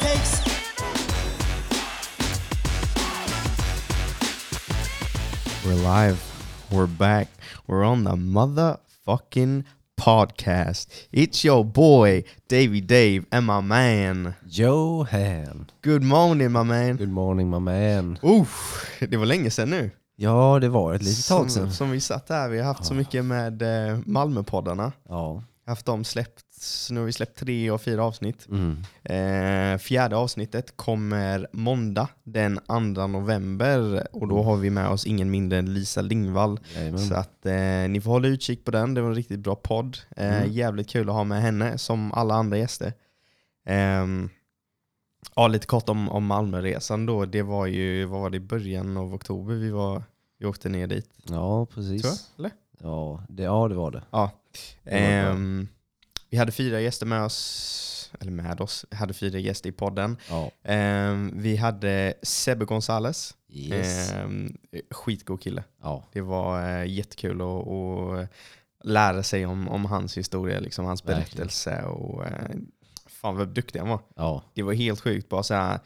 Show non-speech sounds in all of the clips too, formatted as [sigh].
takes. We're live. We're back. We're on the motherfucking podcast. It's your boy, Davy Dave, and my man. Johan. Good morning, my man. Good morning my man. Oof, det var länge sedan nu. Ja, det var ett litet Som, tag sedan. som vi satt här. Vi har haft så mycket med eh, Malmöpoddarna. Ja. Haft dem släppt. Nu har vi släppt tre och fyra avsnitt. Mm. Eh, fjärde avsnittet kommer måndag den 2 november. Och då har vi med oss ingen mindre än Lisa Lingvall. Jajamän. Så att eh, ni får hålla utkik på den, det var en riktigt bra podd. Eh, Mm. Jävligt kul att ha med henne som alla andra gäster. Ehm, ja, lite kort om, om Malmöresan då. Det var ju, vad var det, i början av oktober vi, var, vi åkte ner dit? Ja, Tror jag, precis. eller? Ja det, ja, det var det. Ja. var bra. Ehm, vi hade fyra gäster med oss, eller med oss, vi hade fyra gäster i podden. Ja. Ehm, vi hade Sebbe Gonzales, Yes. Ehm, skitgod kille. Ja. Det var eh, jättekul att, att lära sig om, om hans historia, liksom, hans Verkligen. berättelse. Och, eh, fan vad duktig han var. Ja. Det var helt sjukt bra. Så här,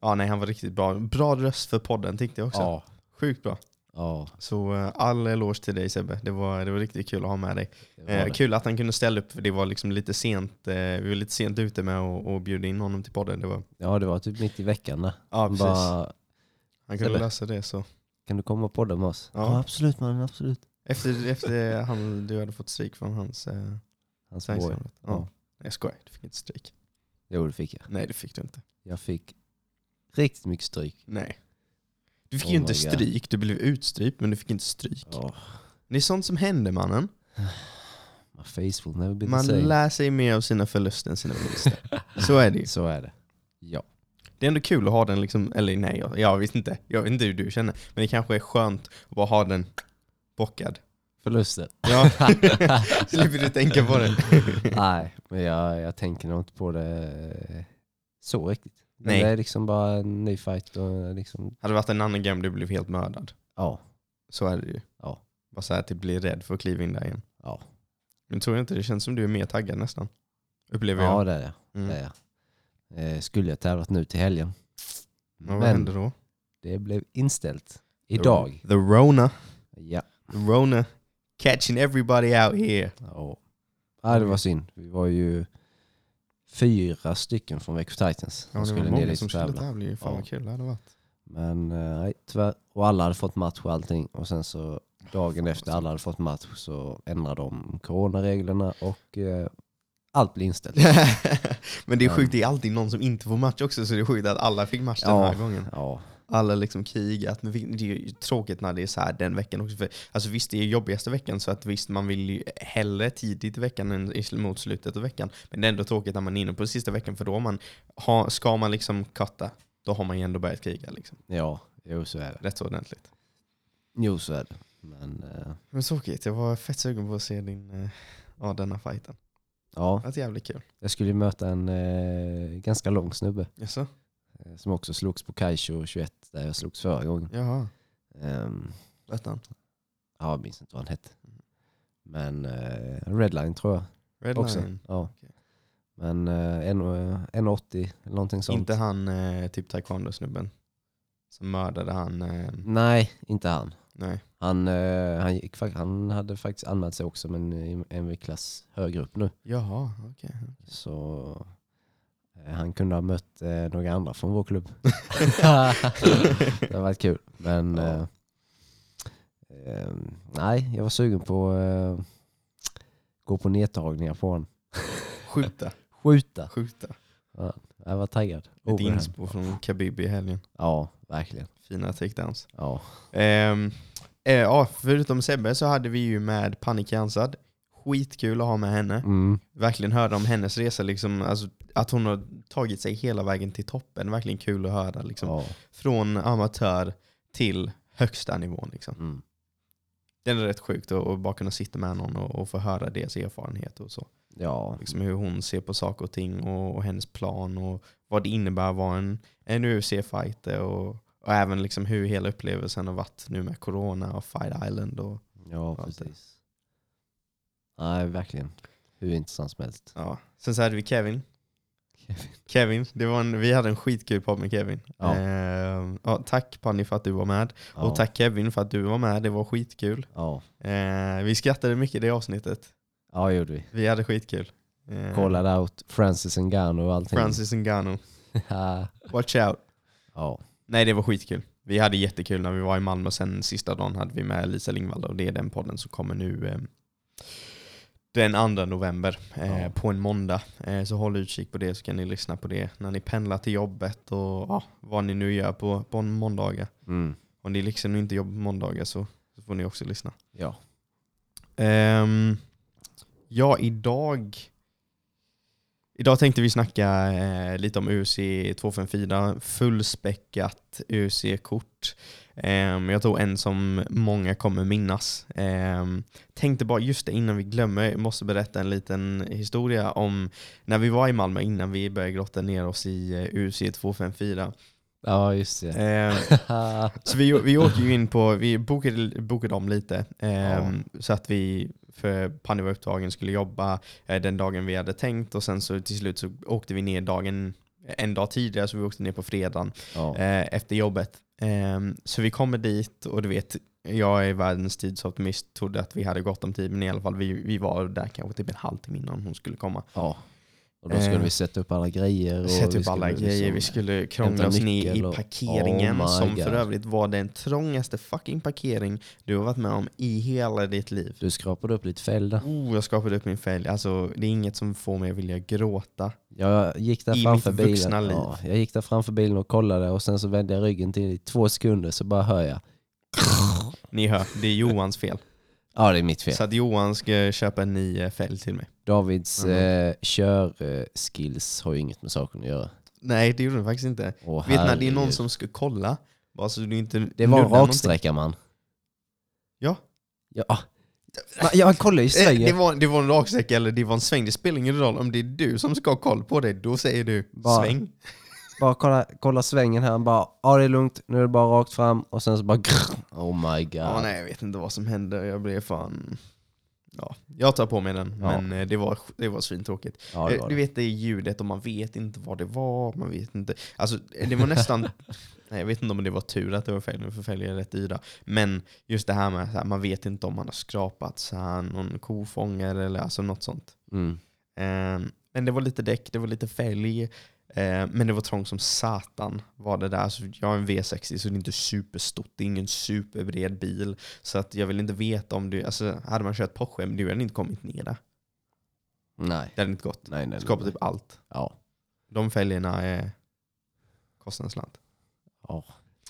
ja, nej, han var riktigt bra. Bra röst för podden tyckte jag också. Ja. Sjukt bra. Ja. Så eh, all eloge till dig Sebbe. Det var, det var riktigt kul att ha med dig. det var Eh, det. kul att han kunde ställa upp för det var liksom lite sent. Eh, vi var lite sent ute med att och bjuda in honom till podden. Det var, Ja, det var typ mitt i veckan där. ja, Han precis. Bara, han kunde Sebbe. lösa det så. kan du komma och podda med oss? Ja. absolut mannen, absolut. Efter, efter han, du hade fått stryk från hans... Eh, Hans boy. Sverigesamhället. Ja. Ja. Jag skojar, du fick inte stryk. Jo det fick jag. Nej det fick du inte. Jag fick riktigt mycket stryk. Nej. Du fick Oh ju my inte God. stryk, du blev utstrypt men du fick inte stryk. Ja. Det är sånt som händer mannen. My face will never be the Man same. lär sig mer av sina förluster än sina [laughs] vinster. Så är det ju. Så är det. Ja. Det är ändå kul att ha den liksom, eller nej jag, jag vet inte. Jag vet inte hur du känner. Men det kanske är skönt att bara ha den bockad. Förlusten. [laughs] Ja. Slipper du tänka på den. Nej, men jag, jag tänker nog inte på det eh, så riktigt. Men Nej. Det är liksom bara en ny fight och liksom, Hade det varit en annan game du blev helt mördad. ja, Så är det ju. Ja. Bara så här att du blir rädd för att kliva in där igen. ja. Men tror jag inte, det känns som du är mer taggad nästan. Upplever jag. Ja det är jag. Mm. Det är jag. Eh, skulle jag tävlat nu till helgen. Men vad hände då? det blev inställt. Idag. The Rona. Ja. The Rona. Catching everybody out here. ja. Ah, det var synd. Vi var ju fyra stycken från Växjö Titans Ja, det var ner många dit som och skulle tävla. tävla ju. Fan Ja. vad kul det hade [laughs] varit. Men eh, nej, tyvärr. Och alla hade fått match och allting. Och sen så dagen efter alla hade fått match så ändrade de coronareglerna och eh, allt blev inställt. Men det är sjukt, det är alltid någon som inte får match också så det är sjukt att alla fick match den Ja. här gången. Ja, Alla liksom krigat. Men det är ju tråkigt när det är så här den veckan också. För, alltså visst, det är jobbigaste veckan så att visst, man vill ju hellre tidigt i veckan än i sl- mot slutet av veckan. Men det är ändå tråkigt när man är inne på sista veckan för då har man, ha, ska man liksom katta, då har man ju ändå börjat kriga liksom. ja, jo så är det. Rätt så ordentligt. Jo så är det. Men eh, Men tråkigt, jag var fett sugen på att se din, eh, ja denna fighten. ja, Det var jävligt kul. jag skulle ju möta en eh, ganska lång snubbe Jaså? eh, som också slogs på Kaisho 21 där jag slogs förra gången. Jaha, Ehm, vet han. ja, jag minns inte vad han hette. Men eh, Redline tror jag också. Redline. Ja. Okej. Men eh, 1 1,80 eller någonting sånt. Inte han eh, typ taekwondo-snubben som mördade han, eh, Nej, inte han. nej. Han, eh, han, gick, fak- han hade faktiskt anmält sig också men i en klass högre upp nu. Jaha, okej. Så eh, han kunde ha mött eh, några andra från [laughs] vår klubb. det har varit kul. Men Ja. eh, eh, nej, jag var sugen på att eh, gå på nedtagningar på honom. Skjuta, Skjuta. skjuta. Jag var taggad. Ett Overhand. inspo från Khabib i helgen. Ja, verkligen. Fina takedowns. Ja. [laughs] Ehm, eh, ja, förutom Sebbe så hade vi ju med Panik Jansad. Skitkul att ha med henne. Mm. verkligen höra om hennes resa, liksom, alltså, att hon har tagit sig hela vägen till toppen. Verkligen kul att höra. Liksom. ja. Från amatör till högsta nivån. Liksom. Mm. Det är rätt sjukt att att bara kunna sitta med någon och, och få höra deras erfarenhet och så. ja. Liksom hur hon ser på saker och ting och, och hennes plan och vad det innebär att vara en, en UFC-fighter och, och även liksom hur hela upplevelsen har varit nu med Corona och Fight Island. Och, Ja, Allt det. precis. [laughs] Nej, verkligen. Hur intressant som helst. ja. Sen så hade vi Kevin. Kevin, det var en, vi hade en skitkul podd med Kevin. Ja. Eh, ja, tack Panny för att du var med. Ja, Och tack Kevin för att du var med, det var skitkul. Ja, Eh, vi skrattade mycket i det avsnittet. ja det gjorde vi. Vi hade skitkul. Eh, Kollade out Francis Ngannou och allting. Francis Ngannou, [laughs] ja. watch out. ja, Nej, det var skitkul. Vi hade jättekul när vi var i Malmö och sen sista dagen hade vi med Lisa Lingvall och det är den podden som kommer nu eh, den 2 november eh, Ja. på en måndag. Eh, så håll utkik på det så kan ni lyssna på det när ni pendlar till jobbet och ja, vad ni nu gör på, på en måndagar. mm. Om ni liksom inte jobbar på måndagar så, så får ni också lyssna. ja. Ehm, ja, idag Idag tänkte vi snacka eh, lite om UFC 254, fullspäckat UFC-kort. Ehm, jag tror en som många kommer minnas. Ehm, tänkte bara just det innan vi glömmer, jag måste berätta en liten historia om när vi var i Malmö innan vi började grotta ner oss i eh, UFC 254. ja [laughs] just det. Ehm, så vi, vi åkte ju in på, vi bokade, bokade om lite. ehm, Så att vi, för Panny var upptagen, skulle jobba eh, den dagen vi hade tänkt. Och sen så till slut så åkte vi ner dagen, en dag tidigare, så vi åkte ner på fredagen ja. eh, efter jobbet. Ehm, så vi kommer dit och du vet, jag är världens tidsoptimist, trodde att vi hade gått om tid, men i alla fall vi, vi var där kanske typ en halvtimme innan hon skulle komma. ja. Och då skulle Eh, vi sätta upp alla grejer. [laughs] Och Sätta vi upp alla skulle grejer, liksom- vi skulle krångla hämta oss ner nyckel i och- parkeringen Oh my som för God. övrigt var den trångaste fucking parkering du har varit med om i hela ditt liv. Du skrapade upp lite fäll där. Oh, jag skapade upp min fälg. Alltså, det är inget som får mig att vilja gråta. Jag gick där I framför mitt bilen. vuxna liv. Ja, jag gick där framför bilen och kollade och sen så vände jag ryggen till i två sekunder så bara hör jag. Ni hör, det är Johans fel. [laughs] Ja det är mitt fel. Så att Johan ska köpa en ny eh, fälg till mig. Davids Mhm. eh, körskills har ju inget med saken att göra. Nej, det gjorde den faktiskt inte. Åh, Vet när det är herregud. någon som ska kolla. Bara så du inte Det var en nuddar raksträcka man. Ja. Ja. ah. Man, jag kollar ju någonting. Eh, Det svängen. var, det var en raksträcka eller det var en sväng, det spelar ingen roll. Om det är du som ska ha koll på det, då säger du Bara- sväng. Bara kolla, kolla svängen här. Bara, ja det är lugnt. Nu är det bara rakt fram. Och sen så bara Oh my god. Ja. nej, jag vet inte vad som hände. Jag blev fan... Ja, jag tar på mig den, Ja. men eh, det var, det var svintråkigt. Ja, det Eh, var Du det. vet det ljudet och man vet inte vad det var, man vet inte. Alltså det var nästan, [laughs] nej jag vet inte om det var tur att det var fälgen, för fälgar är rätt dyra. Men just det här med att man vet inte om man har skrapat så här, någon kofångare eller alltså något sånt. Mm. Eh, Men det var lite däck, det var lite fälg, eh, men det var trångt som satan var det där. Alltså, jag har en V60 så det är inte superstort, det är ingen superbred bil. Så att jag vill inte veta om du, alltså hade man kört Porsche, men du hade inte kommit ner där. Nej. Det hade inte gått. Nej, nej, nej. Skapat typ allt. Ja. De fälgarna är kostar en slant. ja,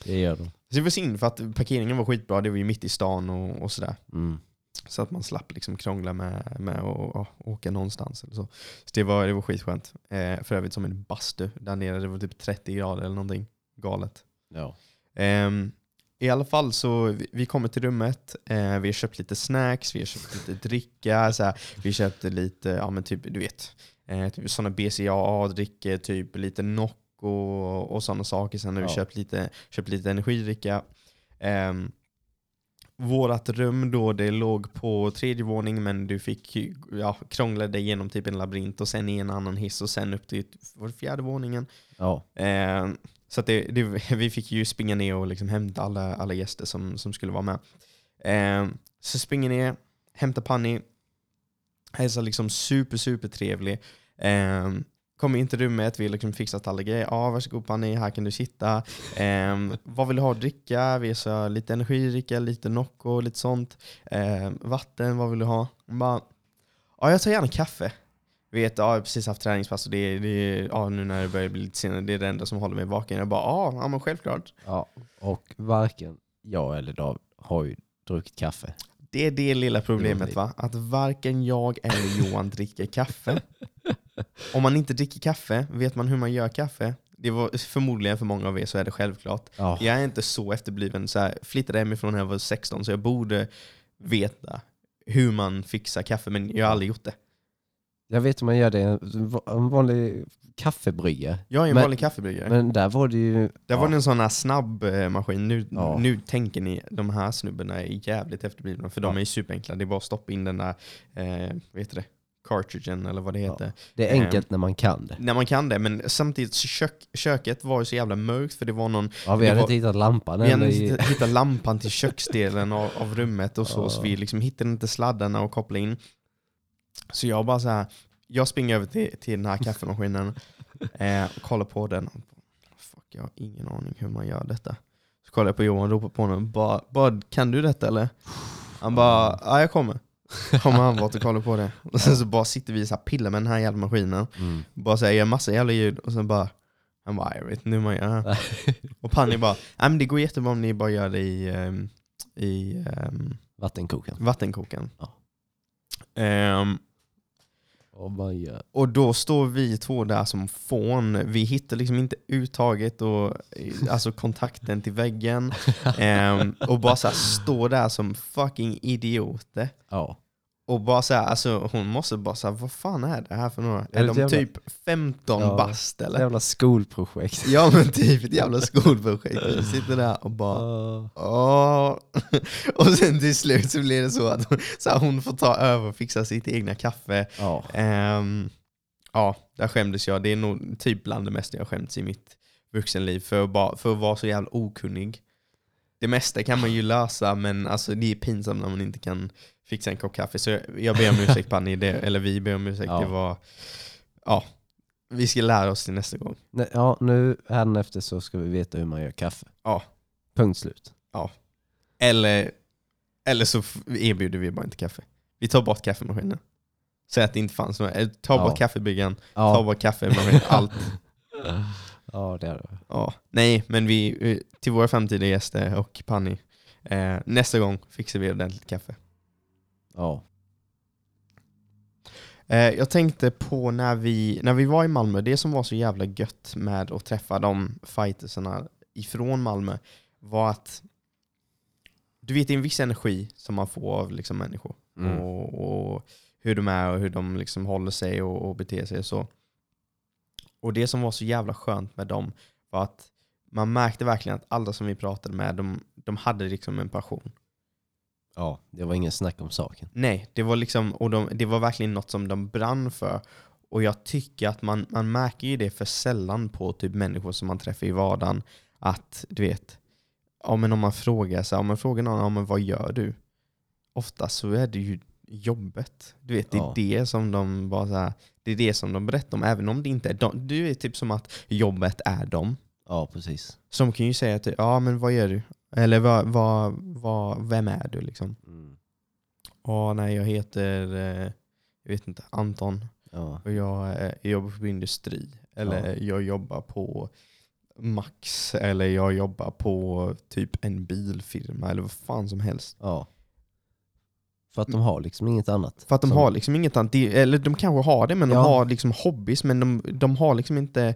det gör de. Så det var synd för att parkeringen var skitbra, det var ju mitt i stan och, och sådär. Mm. Så att man slapp liksom krångla med, med att att åka någonstans eller så. Så det var, det var skitskönt. Eh, för övrigt som en bastu där nere, det var typ 30 grader eller någonting. Galet. Ja. Ehm, I alla fall så, vi, vi kommer till rummet, eh, vi har köpt lite snacks, vi har köpt lite dricka, så här, vi köpte lite, ja men typ, du vet, eh, typ sådana BCAA-drickor, typ lite Nocco och, och sådana saker. Sen har vi Ja. köpt lite, köpt lite energidricka. Um, vårat rum då, det låg på tredje våning men du fick ju- ja, krångla dig genom typ en labyrint och sen i en annan hiss och sen upp till var det fjärde våningen. Ja. Eh, så att det, det, [laughs] vi fick ju springa ner och liksom hämta alla, alla gäster som, som skulle vara med. Eh, så springer ner, hämtar Panny, hälsar liksom super, super trevlig. Eh, kommer in till rummet, vi har liksom fixat alla grejer. Ja, varsågod Panny, här kan du sitta. Eh, vad vill du ha att dricka? Vi sa lite energidricka, lite Nocco, lite sånt. Eh, vatten, vad vill du ha? Hon bara, ja jag tar gärna kaffe. Vet, ja, jag har precis haft träningspass och det, är- det, är- ja, nu när det börjar bli lite senare, det är det enda som håller mig vaken. Jag bara, ja, ja men självklart. ja. Och varken jag eller David har ju druckit kaffe. Det är det lilla problemet Roligt. va? Att varken jag eller Johan dricker kaffe. [laughs] Om man inte dricker kaffe, vet man hur man gör kaffe? Det var förmodligen för många av er så är det självklart. Ja. Jag är inte så efterbliven. Så här, flyttade hemifrån när jag var 16 så jag borde veta hur man fixar kaffe, men jag har aldrig gjort det. Jag vet hur man gör det. En vanlig kaffebrygga. Jag är en Men- vanlig kaffebryggare. Men där var det ju... Mm. Där var ja. det en sån här snabb eh, maskin. Nu, Ja. nu tänker ni, de här snubbarna är jävligt efterblivna. För de Ja. är ju superenkla. Det är bara att stoppa in den där, eh, vad heter det? cartridgen eller vad det Ja. heter. Det är Ehm, enkelt när man kan det. När man kan det, men samtidigt så kök, köket var ju så jävla mörkt för det var någon Ja, vi det hade var- inte hittat lampan vi än. hade I, hitta- hittat lampan till köksdelen av, av rummet och så, så vi liksom hittade inte sladdarna och kopplade in. Så jag bara så här, jag springer över till, till den här kaffemaskinen eh, och kollar på den. Och bara, Fuck, jag har ingen aning hur man gör detta. Så kollar jag på Johan och ropar på honom. Bara, bara, kan du detta eller? Han bara, ja jag kommer. Kommer han bort och kollar på det. Och sen så bara sitter vi så här pillar med den här jävla maskinen. mm. Bara så här, gör massa jävla ljud och sen bara han bara, jag vet inte hur man gör. Och Panni bara, nej men det går jättebra om ni bara gör det i, ehm, i ehm, Vattenkokaren. vattenkokaren. Ja. Ehm, Oh my God. och då står vi två där som fån. Vi hittar liksom inte uttaget och eh, alltså kontakten till [laughs] väggen. Ehm, och bara så här, står där som fucking idioter. Ja. Och bara så här, alltså hon måste bara säga vad fan är det här för några? det Är de ett jävla- typ 15 Ja. bast eller? Jävla skolprojekt. Ja men typ ett jävla skolprojekt. Vi sitter där och bara Ja. Åh. [laughs] Och sen till slut så blir det så att så här, hon får ta över och fixa sitt egna kaffe. Ja. Ehm, ja, där skämdes jag. Det är nog typ bland det mesta jag skämts i mitt vuxenliv för att, bara, för att vara så jävla okunnig. Det mesta kan man ju lösa men alltså, det är pinsamt när man inte kan fixa en kopp kaffe. Så jag, jag ber om ursäkt Panni, Det- eller vi ber om ursäkt. Ja. Det var, ja, vi ska lära oss till nästa gång. Nej, ja, nu härnäfter så ska vi veta hur man gör kaffe. Ja. Punkt slut. Eller, eller så f- erbjuder vi bara inte kaffe. Vi tar bort kaffemaskinen. Säg att det inte fanns några. Eller Ta Ja. bort kaffebryggaren, [laughs] Ja. ta bort kaffemaskinen, allt. Ja, det är det. Ja. Nej, men vi, eh, till våra framtida gäster och Panni. Eh, nästa gång fixar vi ordentligt kaffe. Ja. Eh, jag tänkte på när vi, när vi var i Malmö, det som var så jävla gött med att träffa de fightersarna ifrån Malmö var att du vet det är en viss energi som man får av liksom, människor. Mm. och, och hur de är och hur de liksom håller sig och, och beter sig och så. Och det som var så jävla skönt med dem var att man märkte verkligen att alla som vi pratade med, de, de hade liksom en passion. ja, det var ingen snack om saken. Nej, det var, liksom, och de, det var verkligen något som de brann för. Och jag tycker att man, man märker ju det för sällan på typ människor som man träffar i vardagen. Att du vet, ja, men om man frågar så här, om man frågar någon ja, men vad gör du? Ofta så är det ju jobbet. Du vet, det är Ja. det som de bara så här, det är det som de berättar om. Även om det inte är de. Du är typ som att jobbet är dem. Ja, precis. Som kan ju säga att ja men vad gör du? Eller vad, vad, vad, vem är du liksom? Mm. Ja, nej, jag heter eh, jag vet inte, Anton Ja. och jag eh, jobbar på industri. Eller jag jobbar på Max eller jag jobbar på typ en bilfirma eller vad fan som helst. ja. För att de har liksom inget annat. För att de som- har liksom inget annat, det- eller de kanske har det men de Ja. har liksom hobbys men de, de har liksom inte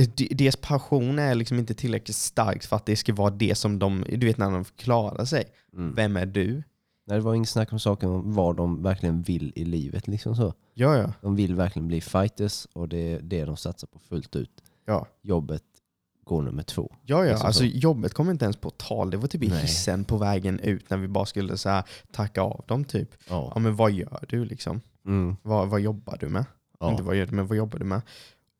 eh, de- deras passion är liksom inte tillräckligt stark för att det ska vara det som de, du vet när de förklarar sig. Mm. Vem är du? Nej, det var inget snack om saken om vad de verkligen vill i livet. Liksom så. Ja, ja. De vill verkligen bli fighters och det är det de satsar på fullt ut. Ja. Jobbet går nummer två. Ja, ja. Liksom Alltså, så. jobbet kom inte ens på tal. Det var typ i Nej. hissen på vägen ut när vi bara skulle så här, tacka av dem. typ. Ja, Ja. men vad gör du liksom? Mm. Vad, vad jobbar du med? Inte Ja. vad gör du, men vad jobbar du med?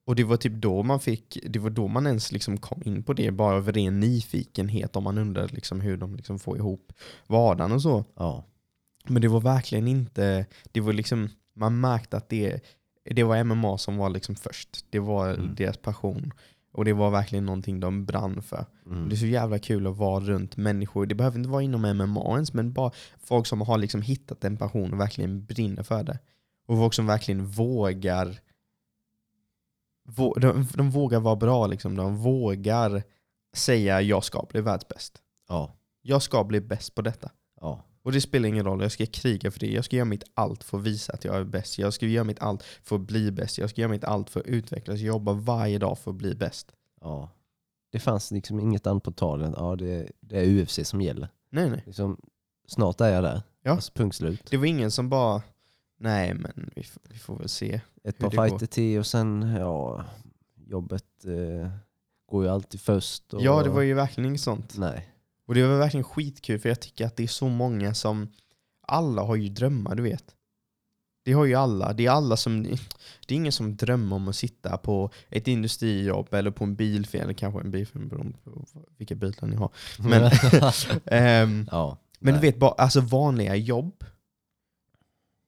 Och det var typ då man fick, det var då man ens liksom kom in på det, bara av ren nyfikenhet om man undrar liksom hur de liksom får ihop vardagen och så. Ja. Men det var verkligen inte, det var liksom, man märkte att det, det var MMA som var liksom först. Det var Mm. deras passion. Och det var verkligen någonting de brann för. Och Mm. Det är så jävla kul att vara runt människor. Det behöver inte vara inom MMA ens, men bara folk som har liksom hittat en passion och verkligen brinner för det. Och folk som verkligen vågar vå- de, de vågar vara bra, liksom. de vågar säga jag ska bli världsbäst. Ja. Jag ska bli bäst på detta. Ja. Och det spelar ingen roll, jag ska kriga för det. Jag ska göra mitt allt för att visa att jag är bäst. Jag ska göra mitt allt för att bli bäst. Jag ska göra mitt allt för att utvecklas. Jag jobbar varje dag för att bli bäst. Ja. Det fanns liksom inget annat på tal än att ja, det, det är UFC som gäller. Nej, nej. Liksom, snart är jag där. Ja. Alltså, punkt slut. Det var ingen som bara, nej men vi, f- vi får väl se. Ett Hur par det går. fighter till och sen, ja, jobbet eh, går ju alltid först. Och, Ja, det var ju verkligen inget sånt. Nej. [laughs] Och det var verkligen skitkul för jag tycker att det är så många som, alla har ju drömmar du vet. Det har ju alla. Det är alla som... [laughs] Det är ingen som drömmer om att sitta på ett industrijobb eller på en bilfirma, eller kanske en bilfirma beroende på vilka bilar ni har. Men, ehm, [laughs] ja. men du Nej. vet, bara, alltså vanliga jobb.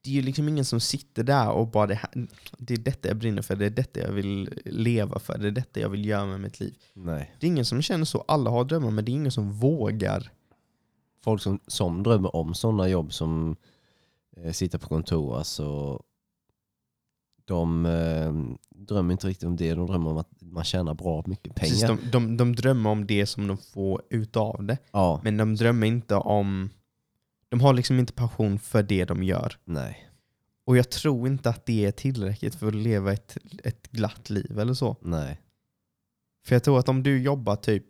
Det är ju liksom ingen som sitter där och bara det, här, det är detta jag brinner för, det är detta jag vill leva för, det är detta jag vill göra med mitt liv. Nej. Det är ingen som känner så. Alla har drömmar men det är ingen som vågar. Folk som, som drömmer om sådana jobb som eh, sitter på kontor, alltså de eh, drömmer inte riktigt om det. De drömmer om att man tjänar bra mycket Precis, pengar. de, de, de drömmer om det som de får utav det. Ja, Men de drömmer inte om... De har liksom inte passion för det de gör. nej, Och jag tror inte att det är tillräckligt för att leva ett, ett glatt liv eller så. nej. För jag tror att om du jobbar typ,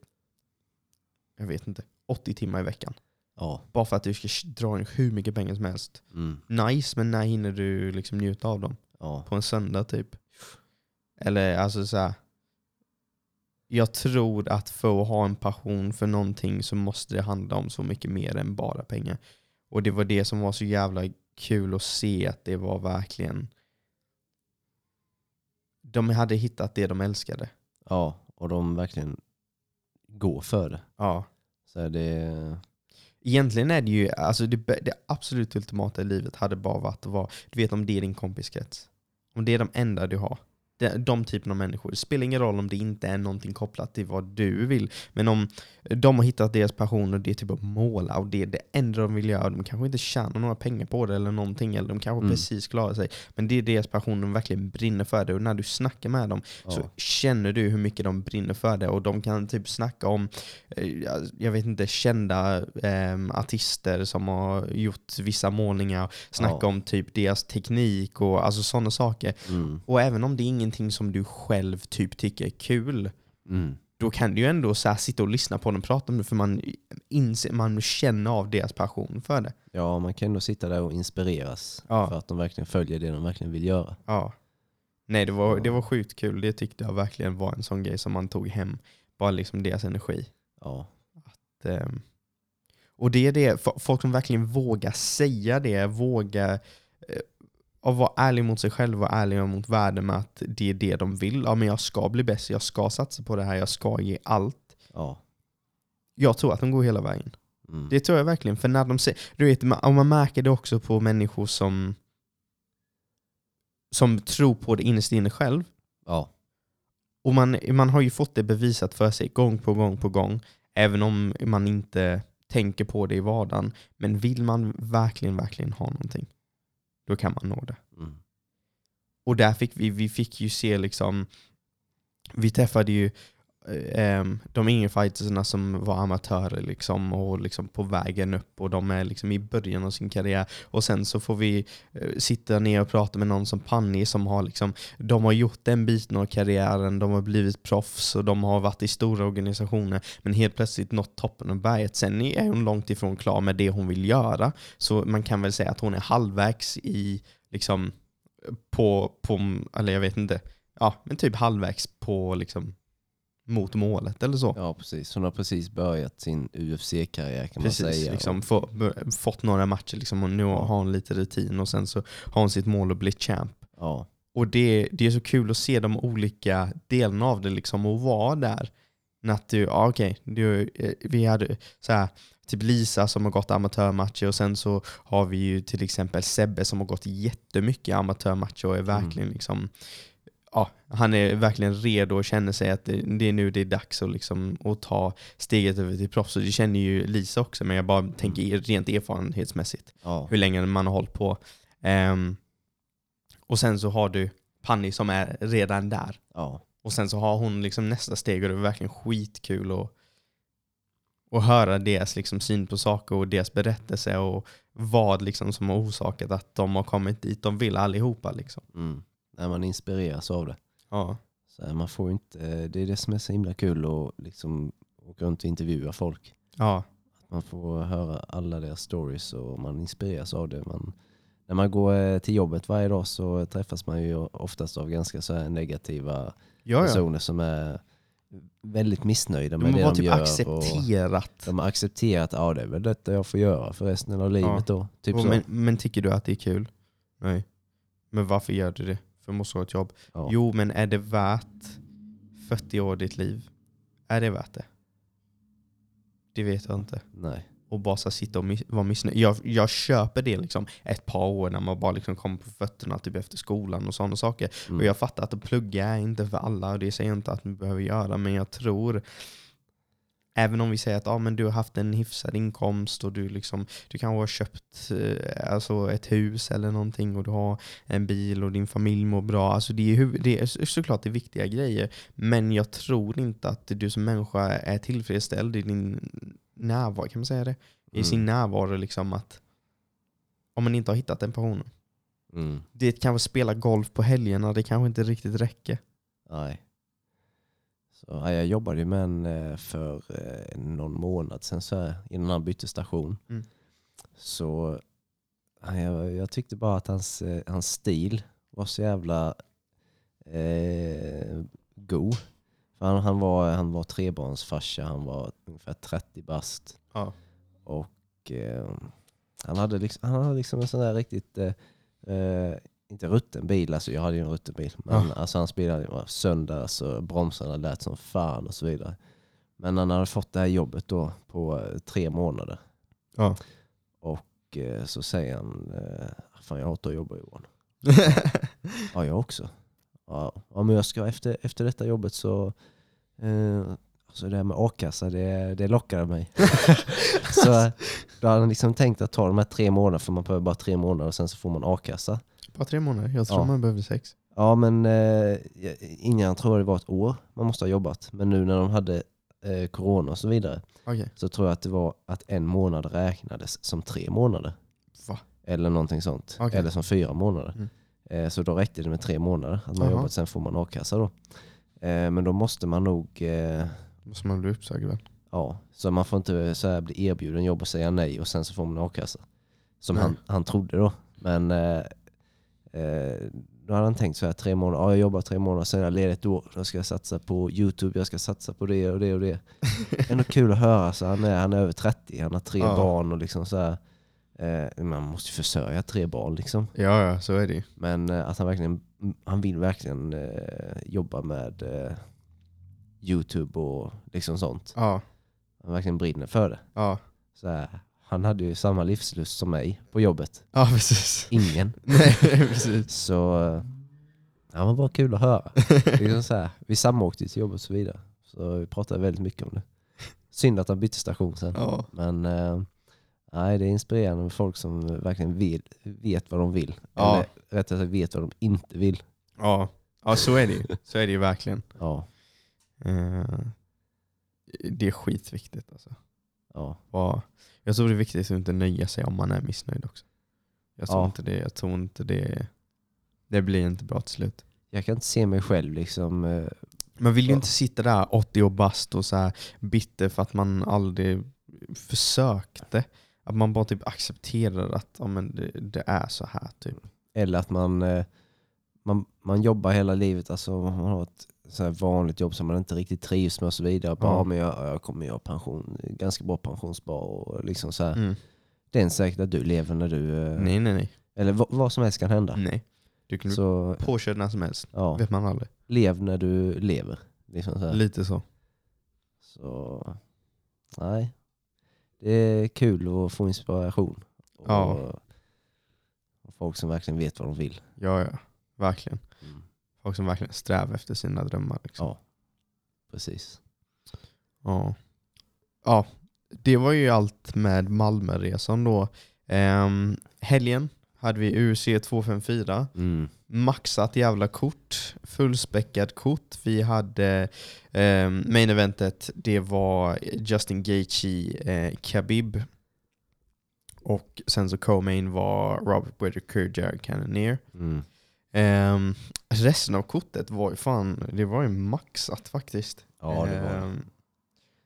jag vet inte, 80 timmar i veckan. Ja, Bara för att du ska dra in hur mycket pengar som helst. mm, Nice, men när hinner du liksom njuta av dem? ja, på en söndag typ. Eller alltså så här. Jag tror att för att ha en passion för någonting så måste det handla om så mycket mer än bara pengar. Och det var det som var så jävla kul att se att det var verkligen de hade hittat det de älskade. ja. Och de verkligen går för det. Ja. Så det, Egentligen är det ju, alltså det, bä- det absolut ultimata i livet hade bara varit att vara, du vet om det är din kompiskrets. Om det är de enda du har. De, de typen av människor. Det spelar ingen roll om det inte är någonting kopplat till vad du vill. Men om de har hittat deras passion och det är typ att måla och det är det enda de vill göra. De kanske inte tjänar några pengar på det eller någonting. Eller de kanske Mm. precis klarar sig. Men det är deras passion, de verkligen brinner för det. Och när du snackar med dem ja. så känner du hur mycket de brinner för det och de kan typ snacka om, eh, jag- jag vet inte, kända ehm, artister som har gjort vissa målningar, snacka Ja. om typ deras teknik och alltså sådana saker. Mm, Och även om det är ingenting som du själv typ tycker är kul, mm, då kan du ju ändå så här sitta och lyssna på dem och prata om det för man, inser, man känner av deras passion för det. ja, man kan ändå sitta där och inspireras Ja. för att de verkligen följer det de verkligen vill göra. Ja. Nej, det var, det var sjukt kul. Det tyckte jag verkligen var en sån grej som man tog hem. Bara liksom deras energi. Ja, Ehm, Och det är det, fo- folk som verkligen vågar säga det, vågar eh, och vara ärlig mot sig själv och ärlig mot världen med att det är det de vill. Ja, men jag ska bli bäst, jag ska satsa på det här, jag ska ge allt. ja. Jag tror att de går hela vägen. Mm. Det tror jag verkligen. För när de ser, du vet, ma- och man märker det också på människor som som tror på det innerst inne själv. ja, Och man, man har ju fått det bevisat för sig gång på gång på gång, även om man inte tänker på det i vardagen. Men vill man verkligen, verkligen ha någonting, då kan man nå det. mm, Och där fick vi, vi fick ju se liksom, vi träffade ju eh, ehm, de yngre fightersna som var amatörer liksom och liksom på vägen upp och de är liksom i början av sin karriär. Och sen så får vi eh, sitta ner och prata med någon som Panni som har liksom, de har gjort den biten av karriären, de har blivit proffs och de har varit i stora organisationer men helt plötsligt nått toppen av berget. Sen är hon långt ifrån klar med det hon vill göra så man kan väl säga att hon är halvvägs i liksom på, på eller jag vet inte, ja men typ halvvägs på liksom mot målet eller så. ja, precis. Hon har precis börjat sin UFC-karriär kan man Precis, säga. liksom, få, b- fått några matcher liksom, och nu har hon lite rutin och sen så har hon sitt mål att bli champ. Ja, Och det, det är så kul att se de olika delarna av det liksom och vara där. Men Att du, ja okej, du, eh, vi hade så här, typ Lisa som har gått amatörmatcher och sen så har vi ju till exempel Sebbe som har gått jättemycket amatörmatcher och är verkligen liksom, ja, han är verkligen redo och känner sig att det, det är nu det är dags att, liksom, att ta steget över till proffs. Och det känner ju Lisa också, men jag bara tänker rent erfarenhetsmässigt ja, hur länge man har hållit på. Ehm, och sen så har du Panni som är redan där. ja, Och sen så har hon liksom nästa steg och det är verkligen skitkul att, att höra deras liksom syn på saker och deras berättelse och vad liksom som har orsakat att de har kommit dit de vill allihopa. Liksom. mm. När man inspireras av det. Ja. Så här, man får ju inte, eh, det är det som är så himla kul att liksom åka runt och intervjua folk. Ja. Att man får höra alla deras stories och man inspireras av det. Man, när man går eh, till jobbet varje dag så träffas man ju oftast av ganska så här negativa Ja, ja. personer som är väldigt missnöjda Alltså, med De det har de typ gör. Och accepterat. de har accepterat att ja, det är väl detta jag får göra för resten av livet då. Typ Och så. men, men tycker du att det är kul? Nej. Men varför gör du det? För jag måste ha ett jobb. Ja. Jo, men är det värt 40 år av ditt liv? Är det värt det? Det vet jag inte. Nej. Och bara så här sitta och miss- vara missnöjd. Jag, jag köper det liksom ett par år när man bara liksom kommer på fötterna typ efter skolan och sådana saker. Mm. Och jag fattar att att plugga är inte för alla och det säger jag inte att vi behöver göra. Men jag tror, även om vi säger att ah, men du har haft en hyfsad inkomst och du, liksom, du kanske har köpt eh, alltså ett hus eller någonting och du har en bil och din familj mår bra. Alltså det, är, hu- det är så- såklart det är viktiga grejer. Men jag tror inte att du som människa är tillfredsställd i din närvaro, kan man säga det? I Mm. sin närvaro liksom att om man inte har hittat den personen Mm. det kanske spela golf på helgerna, det kanske inte riktigt räcker. Nej. Så, ja, jag jobbade ju med en eh, för eh, någon månad sedan så här, innan han bytte station. Mm. Så ja, jag, jag tyckte bara att hans, eh, hans stil var så jävla eh, go. För han, han, var, han var trebarnsfarsa, han var ungefär 30 bast. Ja. Och, eh, han, hade liksom, han hade liksom en sån där riktigt, eh, eh, inte rutten bil, alltså jag hade ju en rutten bil, men Ja. alltså hans bil hade varit sönder, alltså bromsarna lät som fan och så vidare. Men han hade fått det här jobbet då på eh, tre månader ja. och eh, så säger han, eh, fan jag hatar att jobba Johan. Ja jag också. Ja, ja men jag ska efter, efter detta jobbet så, eh, alltså det här med a-kassa det, det lockar mig. Så då hade han liksom tänkt att ta de här tre månaderna, för man behöver bara tre månader och sen så får man a-kassa. [laughs] Bara tre månader, jag tror Ja. man behöver sex. Ja men eh, innan tror jag det var ett år man måste ha jobbat. Men nu när de hade eh, corona och så vidare Okej. så tror jag att det var att en månad räknades som tre månader. Va? Eller någonting sånt. Okej. Eller som fyra månader. Mm. Eh, så då räckte det med tre månader att man Jaha. jobbat, sen får man a-kassa då. Eh, men då måste man nog eh, Måste man bli uppsagd väl? Ja, så man får inte så här bli erbjuden jobb och säga nej och sen så får man a-kassa. Som Nej. han, han trodde då. Men eh, eh, då hade han tänkt så här tre månader, ja jag jobbar tre månader, sen är jag ledig ett år, då ska jag satsa på YouTube, jag ska satsa på det och det [laughs] och det. Ändå kul att höra, så han är, han är över 30, han har tre Ja. barn och liksom så här. Eh, man måste ju försörja tre barn liksom. Ja, ja, så är det ju. Men eh, att han verkligen, han vill verkligen eh, jobba med eh, YouTube och liksom sånt. Ja. Han verkligen brinner för det Ja, så här, han hade ju samma livslust som mig på jobbet. ja [laughs] precis. Ingen. Nej, precis. Så eh, han var bara kul att höra. Liksom så här, vi samåkte ju till jobbet och så vidare. Så vi pratade väldigt mycket om det. Synd att han bytte station sen. Ja. Men eh, nej, det är inspirerande med folk som verkligen vill, vet vad de vill. Ja. Eller rättare sagt vet vad de inte vill. ja. Ja, så är det ju. Så är det ju verkligen. Ja, Eh, det är skitviktigt alltså. ja, Ja. Jag tror det är viktigt att inte nöja sig om man är missnöjd också. Jag tror Ja. inte det, jag tror inte det, det blir inte bra till slut. Jag kan inte se mig själv liksom. eh, Man vill ju Ja. inte sitta där 80 och bast och så här bitter för att man aldrig försökte. Att man bara typ accepterar att ja, men det, det är så här. Typ. Eller att man, eh, man, man jobbar hela livet, alltså man har ett så här vanligt jobb som man inte riktigt trivs med och så vidare. Bara, Ja. ja. men jag, jag kommer ju ha pension, ganska bra pensionsspar och liksom så här. Mm. Det är inte säkert att du lever när du... eh, Nej, Mm. nej, nej. Eller vad, vad som helst kan hända. nej. Du kan bli Så påkörd när som helst. ja, vet man aldrig. lev när du lever. Liksom så här. Lite så. så nej. Det är kul att få inspiration. Och, Ja. och folk som verkligen vet vad de vill. Ja, ja. Verkligen. Mm. Folk som verkligen strävar efter sina drömmar. Liksom. Ja, precis. Ja. ja. Det var ju allt med Malmöresan då. Ehm, helgen hade vi UC 254. Mm. maxat jävla kort, fullspäckat kort. Vi hade eh, main eventet, det var Justin Gaethje, eh, Khabib och sen så co-main var Robert Whittaker, Jared Cannonier. Mm. Eh, resten av kortet var ju fan, det var ju maxat faktiskt. Ja, det var det. Ehm,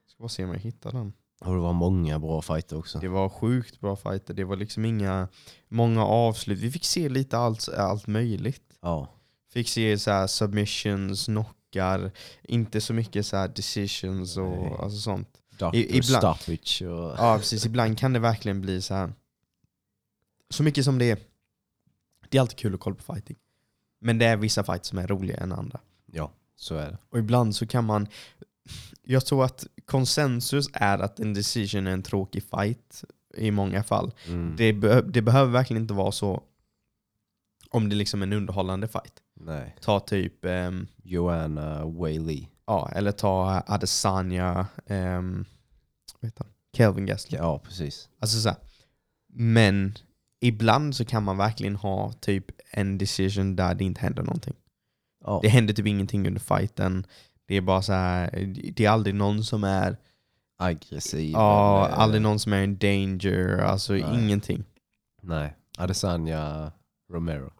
ska bara se om jag hittar den. Och det var många bra fighter också. Det var sjukt bra fighter, det var liksom inga, många avslut. Vi fick se lite allt, allt möjligt. Ja, Fick se så här submissions, knockar, inte så mycket så här decisions Nej. och alltså sånt. Dr. I- ibland- Stoppage och... Ja precis, ibland kan det verkligen bli så här. Så mycket som det är Det är alltid kul att kolla på fighting. Men det är vissa fights som är roligare än andra. Ja, så är det. Och ibland så kan man... Jag tror att konsensus är att en decision är en tråkig fight i många fall. Mm. Det, be- det behöver verkligen inte vara så om det är liksom är en underhållande fight. Nej. Ta typ, ehm, Joanna Whaley. ja, eller ta Adesanya, um, vad heter han? Kelvin Gastelum. Ja, precis. Alltså så här. Men ibland så kan man verkligen ha typ en decision där det inte händer någonting. Ja. Det händer typ ingenting under fighten. Det är bara så här, det är aldrig någon som är, Aggressiv. eh, ja, eller- aldrig någon som är in danger, alltså Nej. ingenting. [laughs] Nej. Adesanya Romero.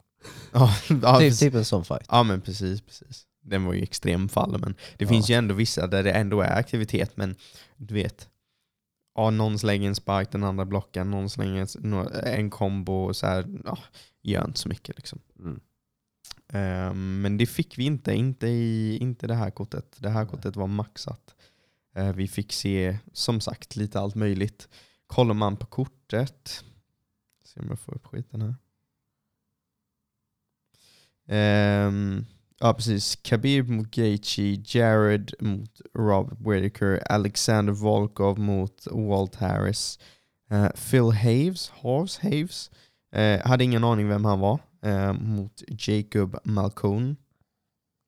Ja, ja, typ, precis. typ en sån fight. ja men precis, precis. Den var ju extremfall, men det Ja. finns ju ändå vissa där det ändå är aktivitet, men du vet. Ja, någon slänger en spark, den andra blockar, någon slänger en- en kombo, och så här, ja, gör inte så mycket liksom. Mm. Ehm, Men det fick vi inte, inte i inte det här kortet. Det här Nej. kortet var maxat. Eh, Vi fick se, som sagt, lite allt möjligt. Kollar man på kortet, se om jag får upp skiten här. Ehm, ja, precis. Khabib mot Gaethje, Jared mot Robert Whittaker, Alexander Volkov mot Walt Harris. Eh, Phil Haves, Haves, Haves Eh, hade ingen aning vem han var. Eh, mot Jacob Malcone.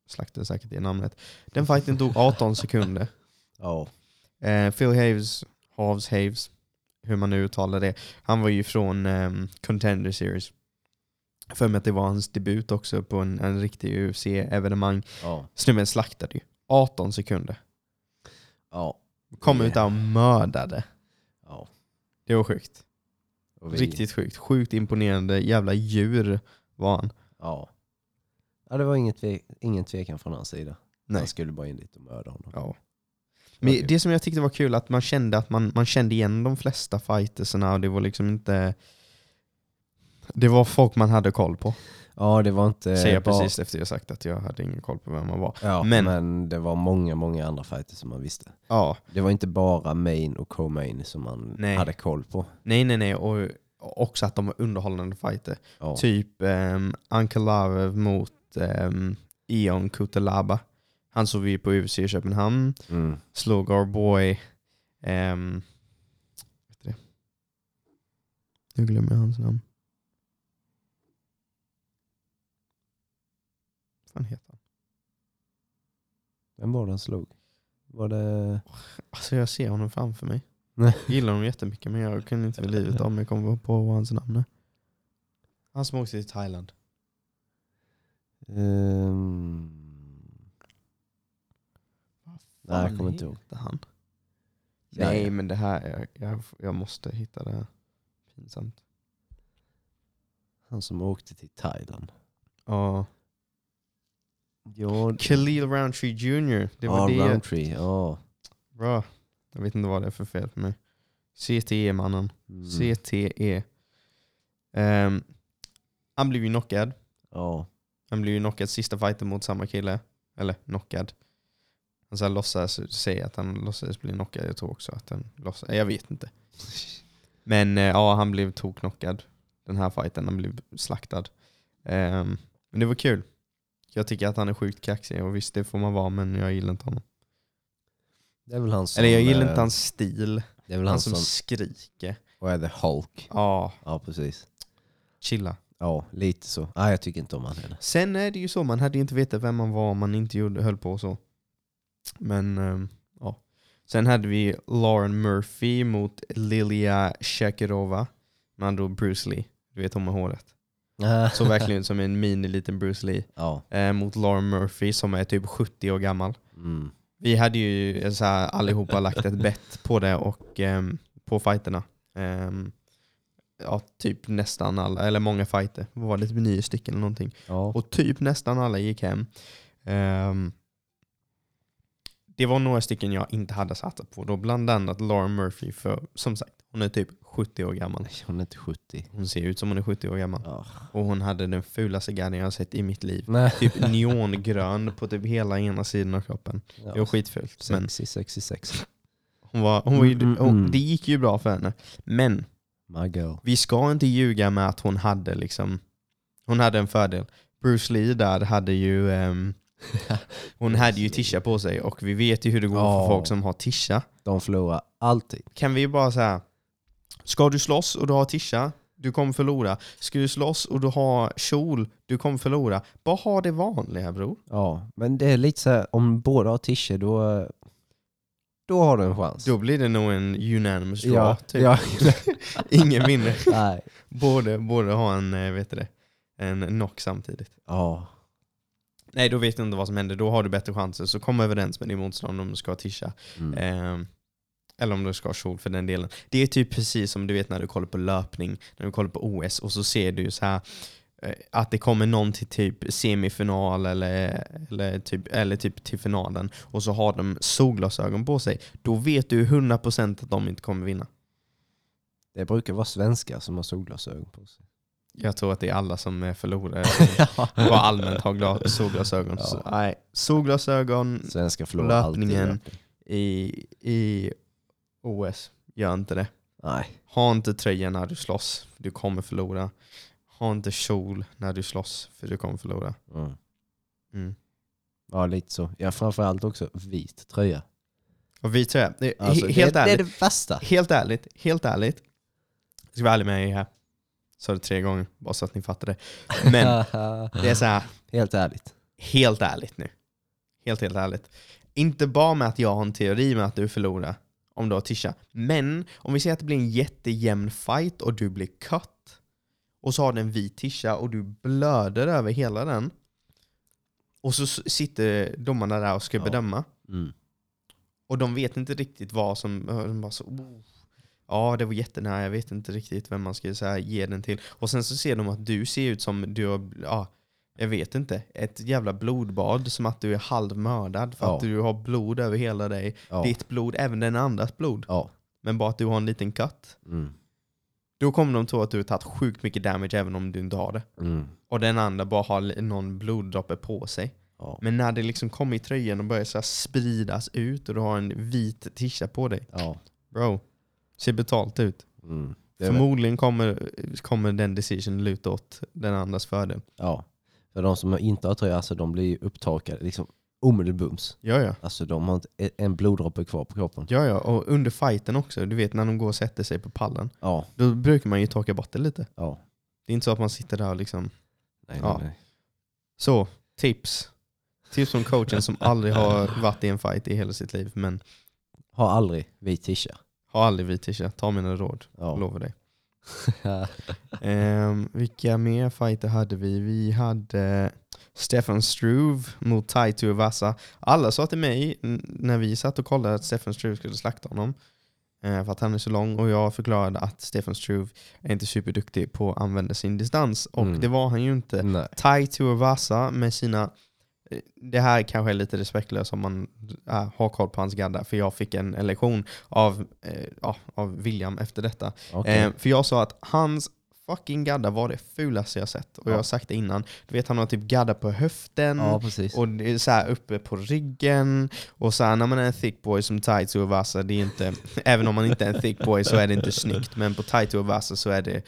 Slaktade säkert det namnet. Den fighten tog 18 sekunder. Ja. Eh, Phil Haves, Haves, Haves, hur man nu uttalar det. Han var ju från ehm, Contender Series. För mig att det var hans debut också på en, en riktig UFC-evenemang. Ja. Snubben slaktade ju. 18 sekunder. Ja. Kom ut där och mördade. ja. Det var sjukt. Och vi- Riktigt sjukt. Sjukt imponerande. Jävla djur var han. Ja. Ja, det var ingen, tve ingen tvekan från hans sida. Nej. Han skulle bara in dit och mörda honom. Ja. Men Okej. Det som jag tyckte var kul att man kände att man, man kände igen de flesta fightersna och det var liksom inte... Det var folk man hade koll på. Eh, Ja, det var inte... Säger jag bara- precis efter jag sagt att jag hade ingen koll på vem man var. Ja, Men- men... det var många, många andra fighter som man visste. Ja, Det var inte bara main och co-main som man Nej. hade koll på. nej nej nej. Och och också att de var underhållande fighter. Ja. Typ um, Ankalaev mot um, Ion Kutalaba. Han såg vi på UFC i Köpenhamn. Mm. Slog our boy... ehm, vet du det? Nu glömmer jag hans namn. Vad fan heter han? Vem var det han slog? Var det... Alltså jag ser honom framför mig. Nej. Jag gillar honom jättemycket men jag kunde inte för livet av mig komma på vad hans namn är. Han som åkte till Thailand. Ehm, Nej, jag kommer inte ihåg. Heter han? Ja, Nej ja. men det här, är- jag, jag måste hitta det här. Pinsamt. Han som åkte till Thailand. Ja. Ja, Khalil Roundtree Jr. Det var det ja, jag- Roundtree. Ja. Bra. Jag vet inte vad det är för fel på mig. CTE-mannen. Mm. CTE. E. Ehm, han blev ju knockad. Ja. Han blev ju knockad sista fighten mot samma kille. Eller knockad. Han så här låtsas säga att han låtsades bli knockad. Jag tror också att han låtsas. Jag vet [laughs] inte. Men eh, ja, han blev tokknockad. Den här fighten. Han blev slaktad. Ehm, men det var kul. Jag tycker att han är sjukt kaxig och visst det får man vara men jag gillar inte honom. Det är väl han som... Eller jag gillar eh, inte hans stil. Det är väl Han han som som... skriker. Och är the Hulk. Ja, Ja, precis. chilla. Ja, lite så. Nej, jag tycker inte om han heller. Sen är det ju så, man hade ju inte vetat vem man var om man inte gjorde, höll på så. Men ehm, ja. Sen hade vi Lauren Murphy mot Lilia Shakirova. Med andra ord Bruce Lee. Du vet hon med håret. [laughs] Såg verkligen ut som en mini-liten Bruce Lee. ja. Eh, mot Lauren Murphy som är typ 70 år gammal. Mm. Vi hade ju eh, så här, allihopa lagt ett bett på det och ehm, på fighterna. Ehm, ja, typ nästan alla, eller många fighter. Vad var det? Typ nio stycken eller någonting. Ja. Och typ nästan alla gick hem. Ehm, det var några stycken jag inte hade satsat på då, bland annat Laura Murphy för som sagt, hon är typ 70 år gammal. Nej, Hon är inte 70. Hon ser ut som hon är 70 år gammal. Ja. Och hon hade den fulaste garden jag har sett i mitt liv. Nej. [laughs] Typ neongrön på typ hela ena sidan av kroppen. Det var skitfult. Men Sexy, sexy, sexy. Hon var, hon var ju, Mm, mm, hon, mm. det gick ju bra för henne. Men My girl. vi ska inte ljuga med att hon hade liksom Hon hade en fördel. Bruce Lee där hade ju [laughs] ehm, hon hade ju tisha på sig och vi vet ju hur det går Ja. för folk som har tisha. De förlorar alltid. Kan vi ju bara säga, ska du slåss och du har tisha, du kommer förlora. Ska du slåss och du har kjol, du kommer förlora. Bara ha det vanliga bror. Ja, men det är lite så här, om båda har tischer då, då har du en chans. Då blir det nog en unanimous draw. ja, typ. [laughs] ja, Ingen [laughs] vinner. nej. Både, både ha en, eh, vet du det, en knock samtidigt. Ja, Nej, då vet du inte vad som händer. Då har du bättre chanser. Så kom överens med din motståndare om du ska ha tisha. mm. Ehm, eller om du ska ha kjol för den delen. Det är typ precis som du vet när du kollar på löpning, när du kollar på OS och så ser du så här eh, att det kommer någon till typ semifinal eller, eller, typ, eller typ till finalen och så har de solglasögon på sig. Då vet du 100% att de inte kommer vinna. det brukar vara svenskar som har solglasögon på sig. Jag tror att det är alla som är [laughs] förlorare. Bara allmänt har gla- solglasögon. Ja. Så, nej, solglasögon Svenskar förlorar Löpningen. alltid. i, i OS. Gör inte det. Nej, Ha inte tröja när du slåss, för du kommer förlora. Ha inte kjol när du slåss, för du kommer förlora. mm. Mm. ja lite så. Ja, framförallt också vit tröja. Och vi tröja, det, är Alltså, he- helt, det, det är ärligt, det värsta. helt ärligt, helt ärligt. Jag ska vara ärlig med er här. Sa det tre gånger, bara så att ni fattar det. [laughs] Men det är så här, Helt ärligt. helt ärligt nu. Helt, helt ärligt. Inte bara med att jag har en teori med att du förlorar om du har tisha. Men om vi säger att det blir en jättejämn fight och du blir cut och så har du en vit tisha och du blöder över hela den. Och så s- sitter domarna där och ska Ja. bedöma. Mm. och Och de vet inte riktigt vad som... De bara så, oh. Ja, det var jättenära. Jag vet inte riktigt vem man ska så här, ge den till. Och sen så ser de att du ser ut som du har... Ja, jag vet inte. Ett jävla blodbad. Som att du är halvmördad för Ja. att du har blod över hela dig. Ja. Ditt blod, även den andras blod. Ja. Men bara att du har en liten cut. Mm. Då kommer de tro att du har tagit sjukt mycket damage även om du inte har det. Mm. Och den andra bara har li- någon bloddroppe på sig. Ja. Men när det liksom kommer i tröjan och börjar så här spridas ut och du har en vit tisha på dig. Ja. Bro, ser betalt ut. Mm. Det är väl- Förmodligen kommer, kommer den decision luta åt den andras fördel. Ja. För de som inte har tröja, alltså, de blir ju upptakade liksom, omedelbums. Ja, ja. Alltså de har inte e- en bloddroppe kvar på kroppen. Ja, ja. Och under fighten också. Du vet när de går och sätter sig på pallen. Ja, Då brukar man ju torka bort det lite. ja. Det är inte så att man sitter där och liksom... Nej, Ja. nej, nej. Så, tips. Tips från coachen som aldrig har varit i en fight i hela sitt liv. Men Har aldrig vit tisha. har aldrig vit tisha. Ta mina råd. Ja. [laughs] Lovar dig. Ehm, vilka mer fighter hade vi? Vi hade Stefan Struve mot Taito Uvasa. Alla sa till mig n- när vi satt och kollade att Stefan Struve skulle slakta honom. eh, För att han är så lång och jag förklarade att Stefan Struve är inte superduktig på att använda sin distans. Och Mm. det var han ju inte. nej. Taito Uvasa med sina... eh, Det här kanske är lite respektlöst om man äh, har koll på hans gadda. För jag fick en en lektion av, eh, ja, av William efter detta. Okej. Eh, för jag sa att hans fucking gadda var det fulaste jag sett. Och jag har Ja. sagt det innan. Du vet han har typ gadda på höften. ja, precis. mm, Och det är så här uppe på ryggen. Och så här, när man är en thick boy som Taito och Vasa, det är inte, [laughs] även om man inte är en thick boy så är det inte snyggt. Men på Taito och Vasa så är det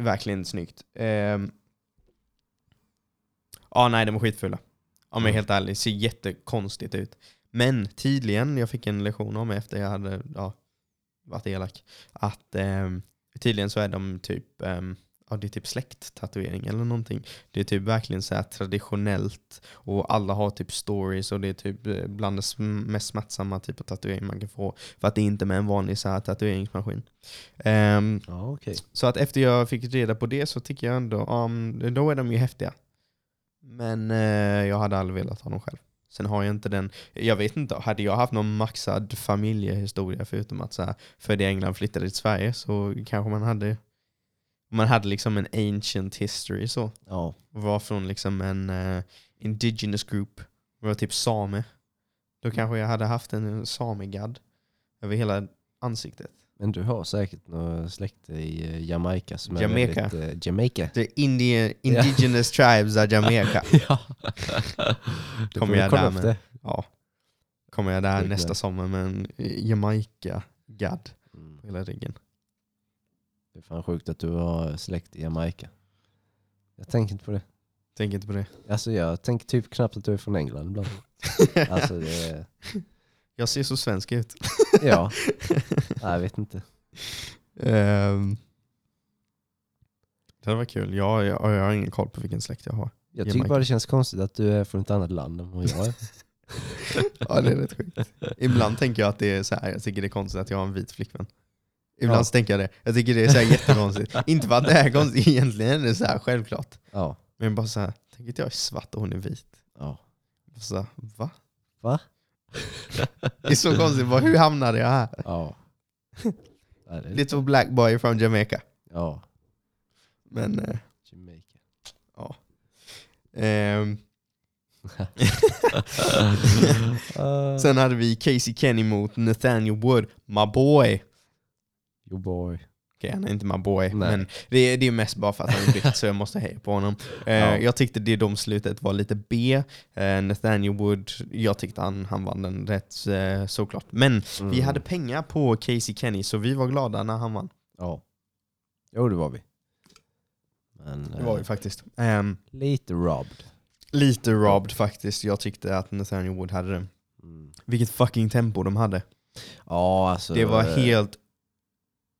verkligen snyggt. Ehm. Ja, nej, de var skitfulla. Om jag är helt ärlig, det ser jättekonstigt ut. Men tydligen, jag fick en lektion om efter jag hade ja, varit elak, att ehm, tydligen så är de typ, ehm, ja, det är typ släkttatuering eller någonting. Det är typ verkligen så här traditionellt och alla har typ stories och det är typ eh, bland det sm- mest smärtsamma typ av tatuering man kan få. För att det är inte med en vanlig så här tatueringsmaskin. Ehm, ja, okej. så att efter jag fick reda på det så tycker jag ändå, um, då är de ju häftiga. Men eh, jag hade aldrig velat ha dem själv. Sen har jag inte den, jag vet inte, hade jag haft någon maxad familjehistoria förutom att så här, född i England och flyttade till Sverige så kanske man hade, man hade liksom en ancient history så Ja. var från liksom en eh, indigenous group, var typ same. Då kanske jag hade haft en samegadd över hela ansiktet. Men du har säkert några släkt i eh, Jamaica som Jamaica. är väldigt... eh, Jamaica. The Indian, indigenous tribes of Jamaica. [laughs] ja. Du Kommer borde jag kolla där upp med. det. Ja. [laughs] Kommer jag där Snyggt, nästa men. sommar med en eh, Jamaica-gadd Mm. på hela ryggen. Det är fan sjukt att du har släkt i Jamaica. Jag tänker inte på det. Tänk inte på det. [laughs] Alltså jag tänker typ knappt att du är från England ibland. Alltså det är, jag ser så svensk ut. ja. Nej, jag vet inte. [laughs] Ehm. det här var kul. Jag, jag, jag har ingen koll på vilken släkt jag har. Jag tycker Jamaica. bara det känns konstigt att du är från ett annat land än vad [laughs] jag är. Ja, det är rätt sjukt. Ibland tänker jag att det är så här, jag tycker det är konstigt att jag har en vit flickvän. Ibland Ja. så tänker jag det. Jag tycker det är så här jättekonstigt. inte för att det är konstigt egentligen, det är så här självklart. Ja. Men bara så här, tänk att jag är svart och hon är vit. ja. Och Så här, va? Va? Det är så konstigt, bara, hur hamnade jag här? Ja. Ja. det [laughs] är- Little black boy from Jamaica. ja. Men, eh, Jamaica. [laughs] ehm, sen hade vi Casey Kenny mot Nathaniel Wood, my boy. Your boy. Okej, han är inte my boy, Nej. men det är, det är mest bara för att han är britt så jag måste heja på honom. Eh, [laughs] Ja. Jag tyckte det domslutet var lite B. Eh, Nathaniel Wood, jag tyckte han, han vann den rätt eh, såklart. Men vi Mm. hade pengar på Casey Kenny så vi var glada när han vann. Ja. Jo, det var vi. Men Det var vi eh, faktiskt. Ehm, lite robbed. lite robbed faktiskt. Jag tyckte att Nathaniel Wood hade det. Mm. Vilket fucking tempo de hade. Ja, alltså. Det var eh, helt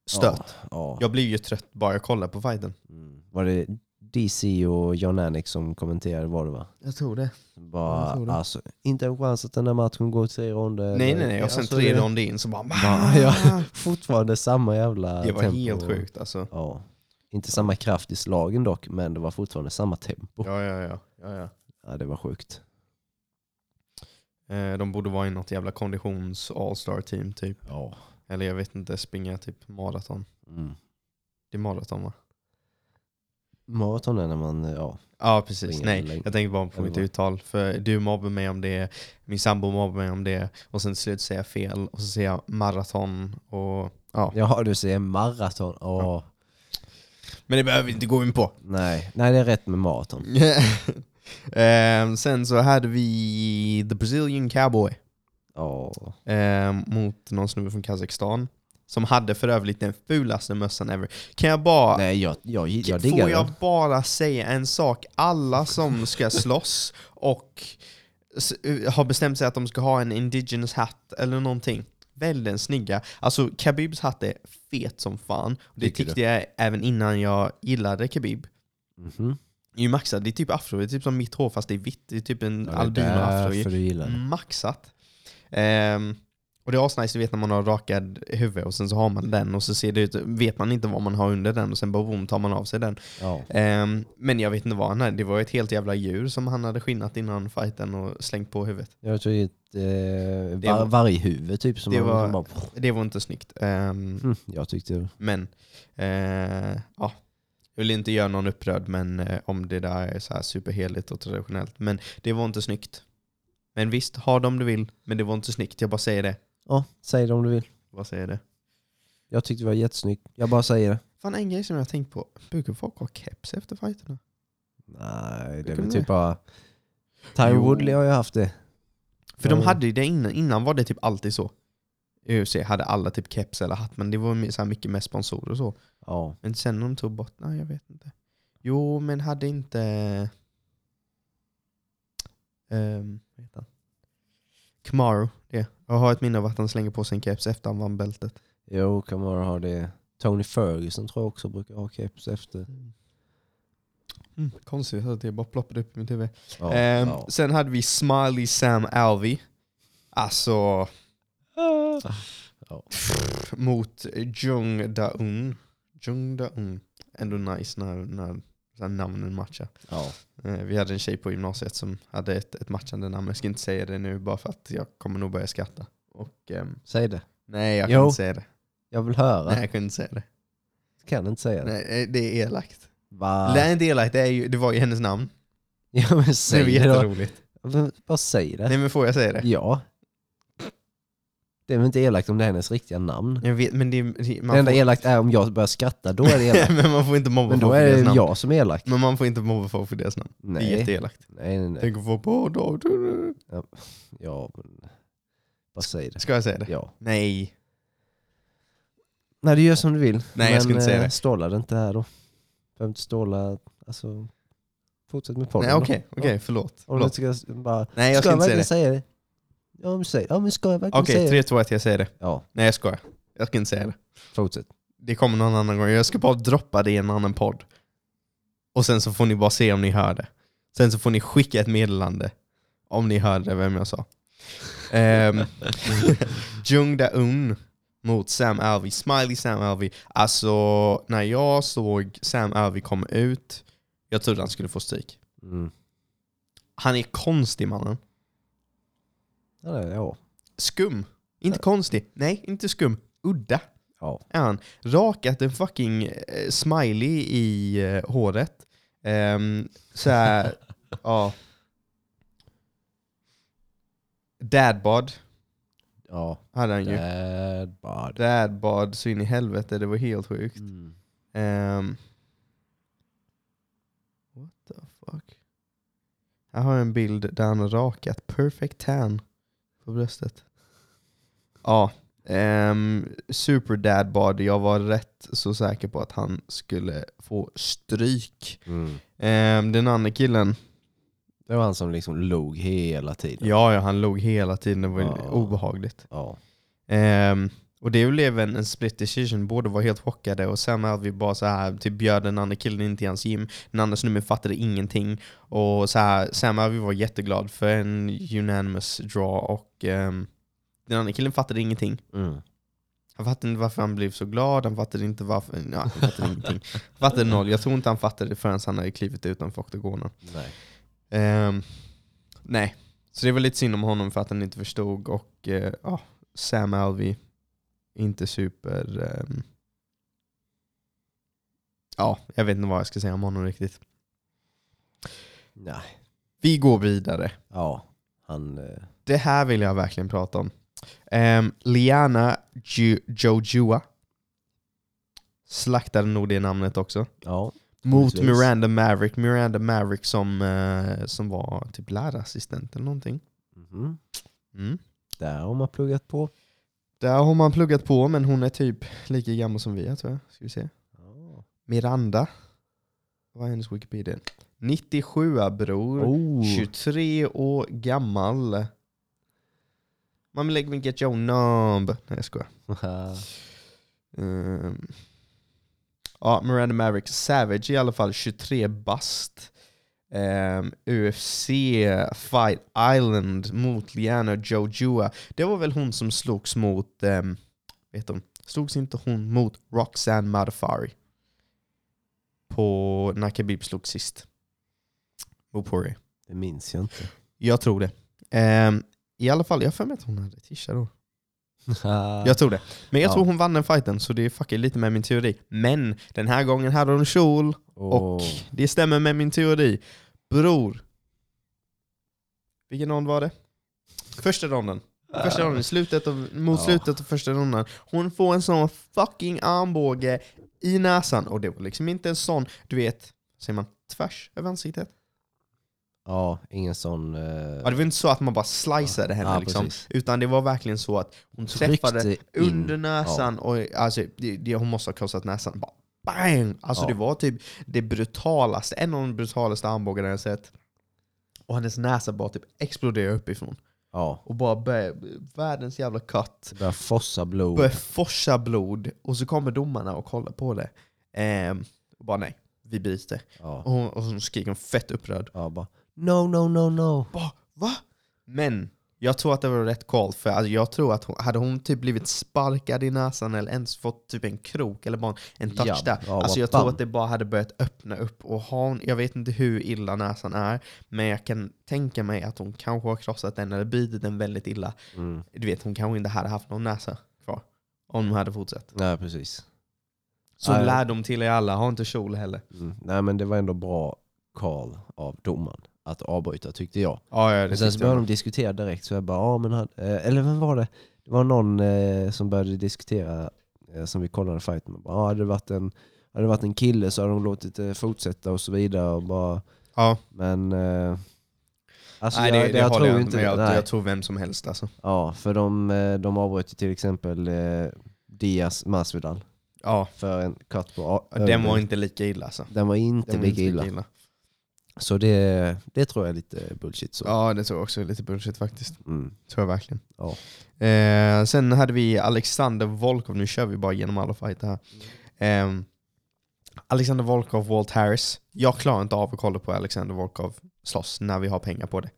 stört. Ja. ja. Jag blev ju trött bara jag kollade på fighten. Mm. Var det DC och John Anik som kommenterade var det va? Jag tror det. Ja, jag Bara, tror det. alltså, inte en chans att den här matchen går tre ronder. Nej nej nej, och sen Alltså, tre det- ronder in så bara... "Ah, Bara, ja, fortfarande samma jävla Det var tempo. helt sjukt alltså. Ja. Inte samma kraft i slagen dock, men det var fortfarande samma tempo. Ja, Ja, ja, ja. ja, ja. det var sjukt. Eh, de borde vara i något jävla konditions all-star team typ. Ja. Eller jag vet inte, springa typ maraton. Mm. Det är maraton va? Maraton är när man, ja. Ja precis, Springer nej. längre. Jag tänkte bara på Eller mitt vad? uttal. För du mobbar mig om det, min sambo mobbar mig om det och sen till slut säger jag fel och så säger jag maraton och ja. Jaha, du säger maraton. Åh, Ja. Men det behöver vi inte gå in [laughs] på. [laughs] nej. Nej, det är rätt med maraton. Ehm, sen så hade vi The Brazilian Cowboy Ja. ehm, mot någon snubbe från Kazakstan. Som hade för övrigt den fulaste mössan ever. Kan jag bara... Nej, jag, jag, jag diggar Får jag den. bara säga en sak? Alla som [laughs] ska slåss och s- eh, har bestämt sig att de ska ha en indigenous hatt eller någonting. Väldigt snygga. Alltså Khabibs hatt är fet som fan. Det Tycker du? tyckte jag även innan jag gillade Khabib. Mhm. Det är ju maxat. Det är typ afro. Det är typ som mitt hår fast det är vitt. Det är typ en Ja, det albino är afro. därför du gillar Mm. den. Maxat. Ehm, och det är asnice, du vet när man har rakad huvud och sen så har man den och så ser det ut, vet man inte vad man har under den och sen bara boom tar man av sig den. Ja. Ehm, men jag vet inte vad han hade. Det var ett helt jävla djur som han hade skinnat innan fighten och slängt på huvudet. Jag tror det är ett eh, Det var, var- varghuvud typ. Som det man, var- man bara, Det var inte snyggt. Ehm, mm, jag tyckte Men, eh, ja. Jag vill inte göra någon upprörd men eh, om det där är så här superheligt och traditionellt. Men det var inte snyggt. Men visst, ha det om du vill. Men det var inte snyggt, jag bara säger det. Ja, säg det om du vill. Vad säger det? Jag tyckte det var jättesnyggt. Jag bara säger det. Fan en grej som jag har tänkt på. Brukar folk ha keps efter fighterna? Nej, det är Tycker väl du det? typ bara... Tyre Jo. Woodley har ju haft det. För de Ja. hade ju det innan. Innan var det typ alltid så. I UFC hade alla typ keps eller hatt men det var ju så här mycket med sponsorer och så. Ja. Men sen när de tog bort, nej jag vet inte. Jo, men hade inte... Um, vad heter han? Kamaru det. Jag har ett minne av att han slänger på sig en keps efter han vann bältet. Jo, Kamara har det. Tony Ferguson tror jag också brukar ha keps efter. Mm, konstigt att det bara ploppade upp i mitt huvud. Ja, Ehm, ja. Sen hade vi Smiley Sam Alvey. Alltså Ah, Ja. pff, mot Jung Da-Un. Jung Da-Un. Ändå nice när, när, när namnen matchar. Ja. Eh, Vi hade en tjej på gymnasiet som hade ett, ett matchande namn. Jag ska inte säga det nu bara för att jag kommer nog börja skratta. Och, ehm, Säg det. nej, jag Jo. kan inte säga det. Jag vill höra. Nej, jag kunde inte säga det. Kan inte säga det. Nej, eh, det är elakt. Va? Nej, inte elakt. Det, är ju, det var ju hennes namn. [laughs] Ja, men Det säg var det, då. jätteroligt. Men Bara säg det. Nej, men får jag säga det? Ja. Det är väl inte elakt om det är hennes riktiga namn. Jag vet, men det, det- det man, enda får, elakt är om jag börjar skratta, [laughs] då är det [laughs] elakt. men man får inte mobba Men då folk för är deras det namn. jag som är elak. Men man får inte mobba folk för deras namn. Det är Nej, jätteelakt. nej, nej. nej. Tänk att få på då. Ja, men... Bara säg det. Ska jag säga det? Ja. Nej. Nej, du gör som du vill. Nej, jag skulle inte säga eh, det. Ståla det inte här då. Behöver inte ståla... Alltså, Fortsätt med podden Nej då. okej, okej förlåt. Om du förlåt. tycker jag bara, Nej jag ska ska inte jag säga verkligen det. säga det? Ja men, säg, ja, men ska jag verkligen Okej, säga det? tre, två, ett, jag säger det. Ja, Nej jag skojar. Jag ska inte säga det. fortsätt. Det kommer någon annan gång. Jag ska bara droppa det i en annan podd. Och sen så får ni bara se om ni hör det. Sen så får ni skicka ett meddelande om ni hörde vem jag sa. [laughs] Um, Jung Da-Un mot Sam Alvey. Smiley Sam Alvey. Alltså, när jag såg Sam Alvey komma ut, jag trodde han skulle få stryk. Mm. Han är konstig mannen. Ja, det är- ja. Skum. Inte konstig. Nej, inte skum. Udda. ja. är han. Rakat en fucking eh, smiley i eh, håret. Um, så här, ja. Dadbod ja. hade han ju. Dad bod. Dadbod så in i helvete, det var helt sjukt. Mm. Ehm, what the fuck? Här har jag en bild där han har rakat perfect tan på bröstet. Ja, um, super dad bod. Jag var rätt så säker på att han skulle få stryk. Mm. Ehm, den andra killen, Det var han som liksom log hela tiden. ja, ja han låg hela tiden, det var Ja. obehagligt. Ja. Ehm, och det blev en, en split decision, båda var helt chockade och sen hade vi bara så här, typ bjöd den andra killen in till hans gym, den andra snubben fattade ingenting och så här, sen hade vi var jätteglad för en unanimous draw och ehm, den andra killen fattade ingenting. Mm. Han fattade inte varför han blev så glad, han fattade inte varför, ja, han fattade ingenting. Han fattade noll, jag tror inte han fattade förrän han hade klivit utanför oktagonen. Nej. Ehm, nej, så det var lite synd om honom för att han inte förstod och eh, ja, Sam Alvey inte super... ehm, ja, jag vet inte vad jag ska säga om honom riktigt. Nej. Vi går vidare. Ja. Han... eh, Det här vill jag verkligen prata om. Ehm, Liana Ju- Jojua slaktade nog det namnet också. Ja. Mot Precis. Miranda Maverick. Miranda Maverick som, eh, som var typ lärarassistent eller någonting. Mhm. Mm. Där har man pluggat på. Där har man pluggat på, men hon är typ lika gammal som vi är tror jag. Ska vi se. Ja. Miranda. Vad är hennes Wikipedia? 97 bror. Oh. 23 år gammal. Man vill lägga mig get your numb. Nej jag skojar. Oh. Ehm. Ja, Miranda Maverick. Savage i alla fall 23 bast. Ehm, UFC Fight Island mot Liana Jojua. Det var väl hon som slogs mot, ehm, vet hon, slogs inte hon mot Roxanne Madafari? På när Khabib slogs sist. Mot Poirier. [laughs] det minns jag inte. Jag tror det. Ehm, I alla fall, jag har för mig att hon hade tisha då. Jag tror det. Men jag Ja. tror hon vann den fighten, så det fuckar lite med min teori. Men den här gången hade hon kjol, och Åh. det stämmer med min teori. Bror. Vilken rond var det? Första ronden. Första eh, ronden, i slutet av, mot Ja. slutet av första ronden. Hon får en sån fucking armbåge i näsan. Och det var liksom inte en sån, du vet, säger man tvärs över ansiktet? Ja, ingen sån... eh, Ja, det var inte så att man bara sliceade henne ja, liksom. precis. Utan det var verkligen så att hon träffade Tryckte in. under näsan och alltså, det, det, hon måste ha krossat näsan. Bara, bang! Alltså Ja. det var typ det brutalaste, en av de brutalaste armbågarna jag sett. Och hennes näsa bara typ exploderade uppifrån. Ja, Och bara började, världens jävla cut. det börjar fossa blod. Började forsa blod. Och så kommer domarna och kollar på det. Ehm, och bara nej, vi bryter. Ja. Och hon, och hon skriker fett upprörd. ja, bara no, no, no, no. Bara, va? Men jag tror att det var rätt call, för alltså, jag tror att hon, hade hon typ blivit sparkad i näsan eller ens fått typ en krok eller bara en touch Ja, där. ja, alltså bara jag bam. tror att det bara hade börjat öppna upp och har hon, jag vet inte hur illa näsan är, men jag kan tänka mig att hon kanske har krossat den eller bitit den väldigt illa. Mm. Du vet, hon kanske inte hade haft någon näsa kvar om hon hade fortsatt. Nej, precis. Så Nej. lärdom till er alla, ha inte kjol heller. Mm. Nej, men det var ändå bra call av domaren att avbryta tyckte jag. Ja, ja, Men sen så började de diskutera direkt så jag bara, ja men han, eh, eller vem var det? Det var någon eh, som började diskutera eh, som vi kollade fighten med. Bara, Ja, hade det varit en, hade det varit en kille så hade de låtit det fortsätta och så vidare. Och bara, ja. men... Eh, alltså Nej, det, jag, det, jag håller tror jag inte inte med. Jag, nej. jag tror vem som helst alltså. Ja, för de, eh, de avbröt ju till exempel eh, Diaz Masvidal Ja. för en cut på Ja, Den var inte lika illa alltså. den var inte Den var lika illa. illa. Så det, det tror jag är lite bullshit. Så. Ja, det tror jag också är lite bullshit faktiskt. Mm. Tror jag verkligen. Ja. Eh, sen hade vi Alexander Volkov, nu kör vi bara genom alla fighter här. Ehm, Alexander Volkov, Walt Harris. Jag klarar inte av att kolla på Alexander Volkov slåss när vi har pengar på det.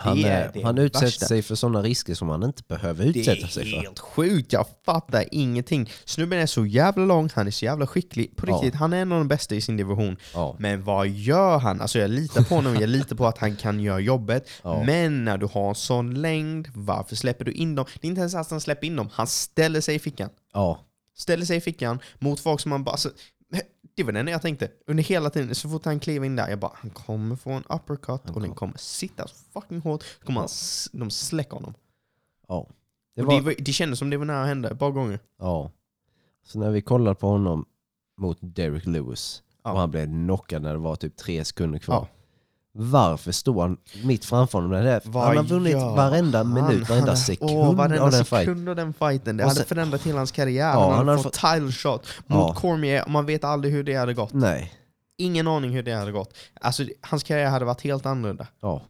Han, Det är är, det han utsätter värsta. sig för sådana risker som han inte behöver utsätta sig Det är för. helt sjukt, jag fattar ingenting. Snubben är så jävla lång, han är så jävla skicklig. På Ja. riktigt, han är en av de bästa i sin division. Ja. Men vad gör han? Alltså jag litar på honom, jag litar på att han kan göra jobbet. [laughs] Ja. Men när du har en sån längd, varför släpper du in dem? Det är inte ens att han släpper in dem, han ställer sig i fickan. Ja. Ställer sig i fickan mot folk som man bara... Alltså, det var det enda jag tänkte. Under hela tiden, så fort han klev in där, jag bara han kommer få en uppercut och den kommer sitta så fucking hårt. Så kommer han, s- de släcker honom. ja. Det, Det var... det, var, var, det kändes som det var nära att hända ett par gånger. ja. Så när vi kollade på honom mot Derek Lewis Ja. och han blev knockad när det var typ tre sekunder kvar. Ja. Varför står han mitt framför honom? när Det är, Vad han har vunnit gör varenda han? minut, Han varenda har- sekund åh, varenda av den fighten. sekund av den fighten. Det Och hade sen- förändrat hela hans karriär. Ja, han hade han har fått title shot mot Ja. Cormier och man vet aldrig hur det hade gått. Nej. Ingen aning hur det hade gått. Alltså, hans karriär hade varit helt annorlunda. Ja.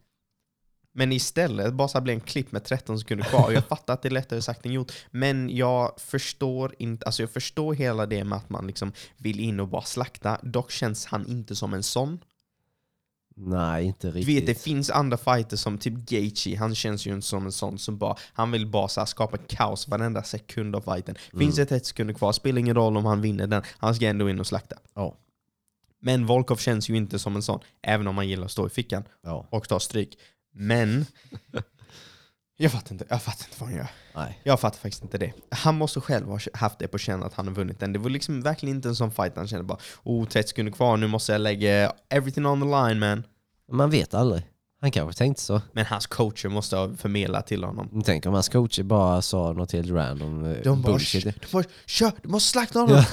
Men istället bara så här blev en klipp med 13 sekunder kvar. [laughs] Och Jag fattar att det är lättare sagt än gjort. Men jag förstår inte, alltså jag förstår hela det med att man liksom vill in och bara slakta. Dock känns han inte som en sån. Nej, inte Du riktigt. vet, det finns andra fighters som typ Gaethje, han känns ju inte som en sån som bara, han vill bara så här skapa kaos varenda sekund av fighten. Finns det 30 sekunder kvar, spelar ingen roll om han vinner den, han ska ändå in och slakta. Ja. Men Volkov känns ju inte som en sån, även om han gillar att stå i fickan Ja. och ta stryk. Men, jag fattar inte, jag fattar inte vad han gör. Nej. Jag fattar faktiskt inte det. Han måste själv ha haft det på känn att han har vunnit den. Det var liksom verkligen inte en sån fight han kände bara, oh 30 sekunder kvar, nu måste jag lägga everything on the line man. Man vet aldrig. Han kanske tänkte så. Men hans coacher måste ha förmedlat till honom. Tänk om hans coacher bara sa något helt random eh, De bara, bullshit. "Kör, de bara kör, du måste slakta [laughs] honom!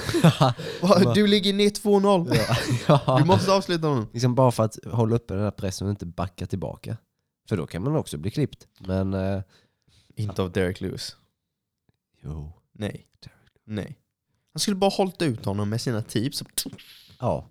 Va, Du ligger ner 2-0, [laughs] ja. du måste avsluta honom! Liksom bara för att hålla uppe den här pressen och inte backa tillbaka. För då kan man också bli klippt. Men... Eh, Inte av Derek Lewis. jo. Nej. Nej. Han skulle bara hållit ut honom med sina tips. Ja.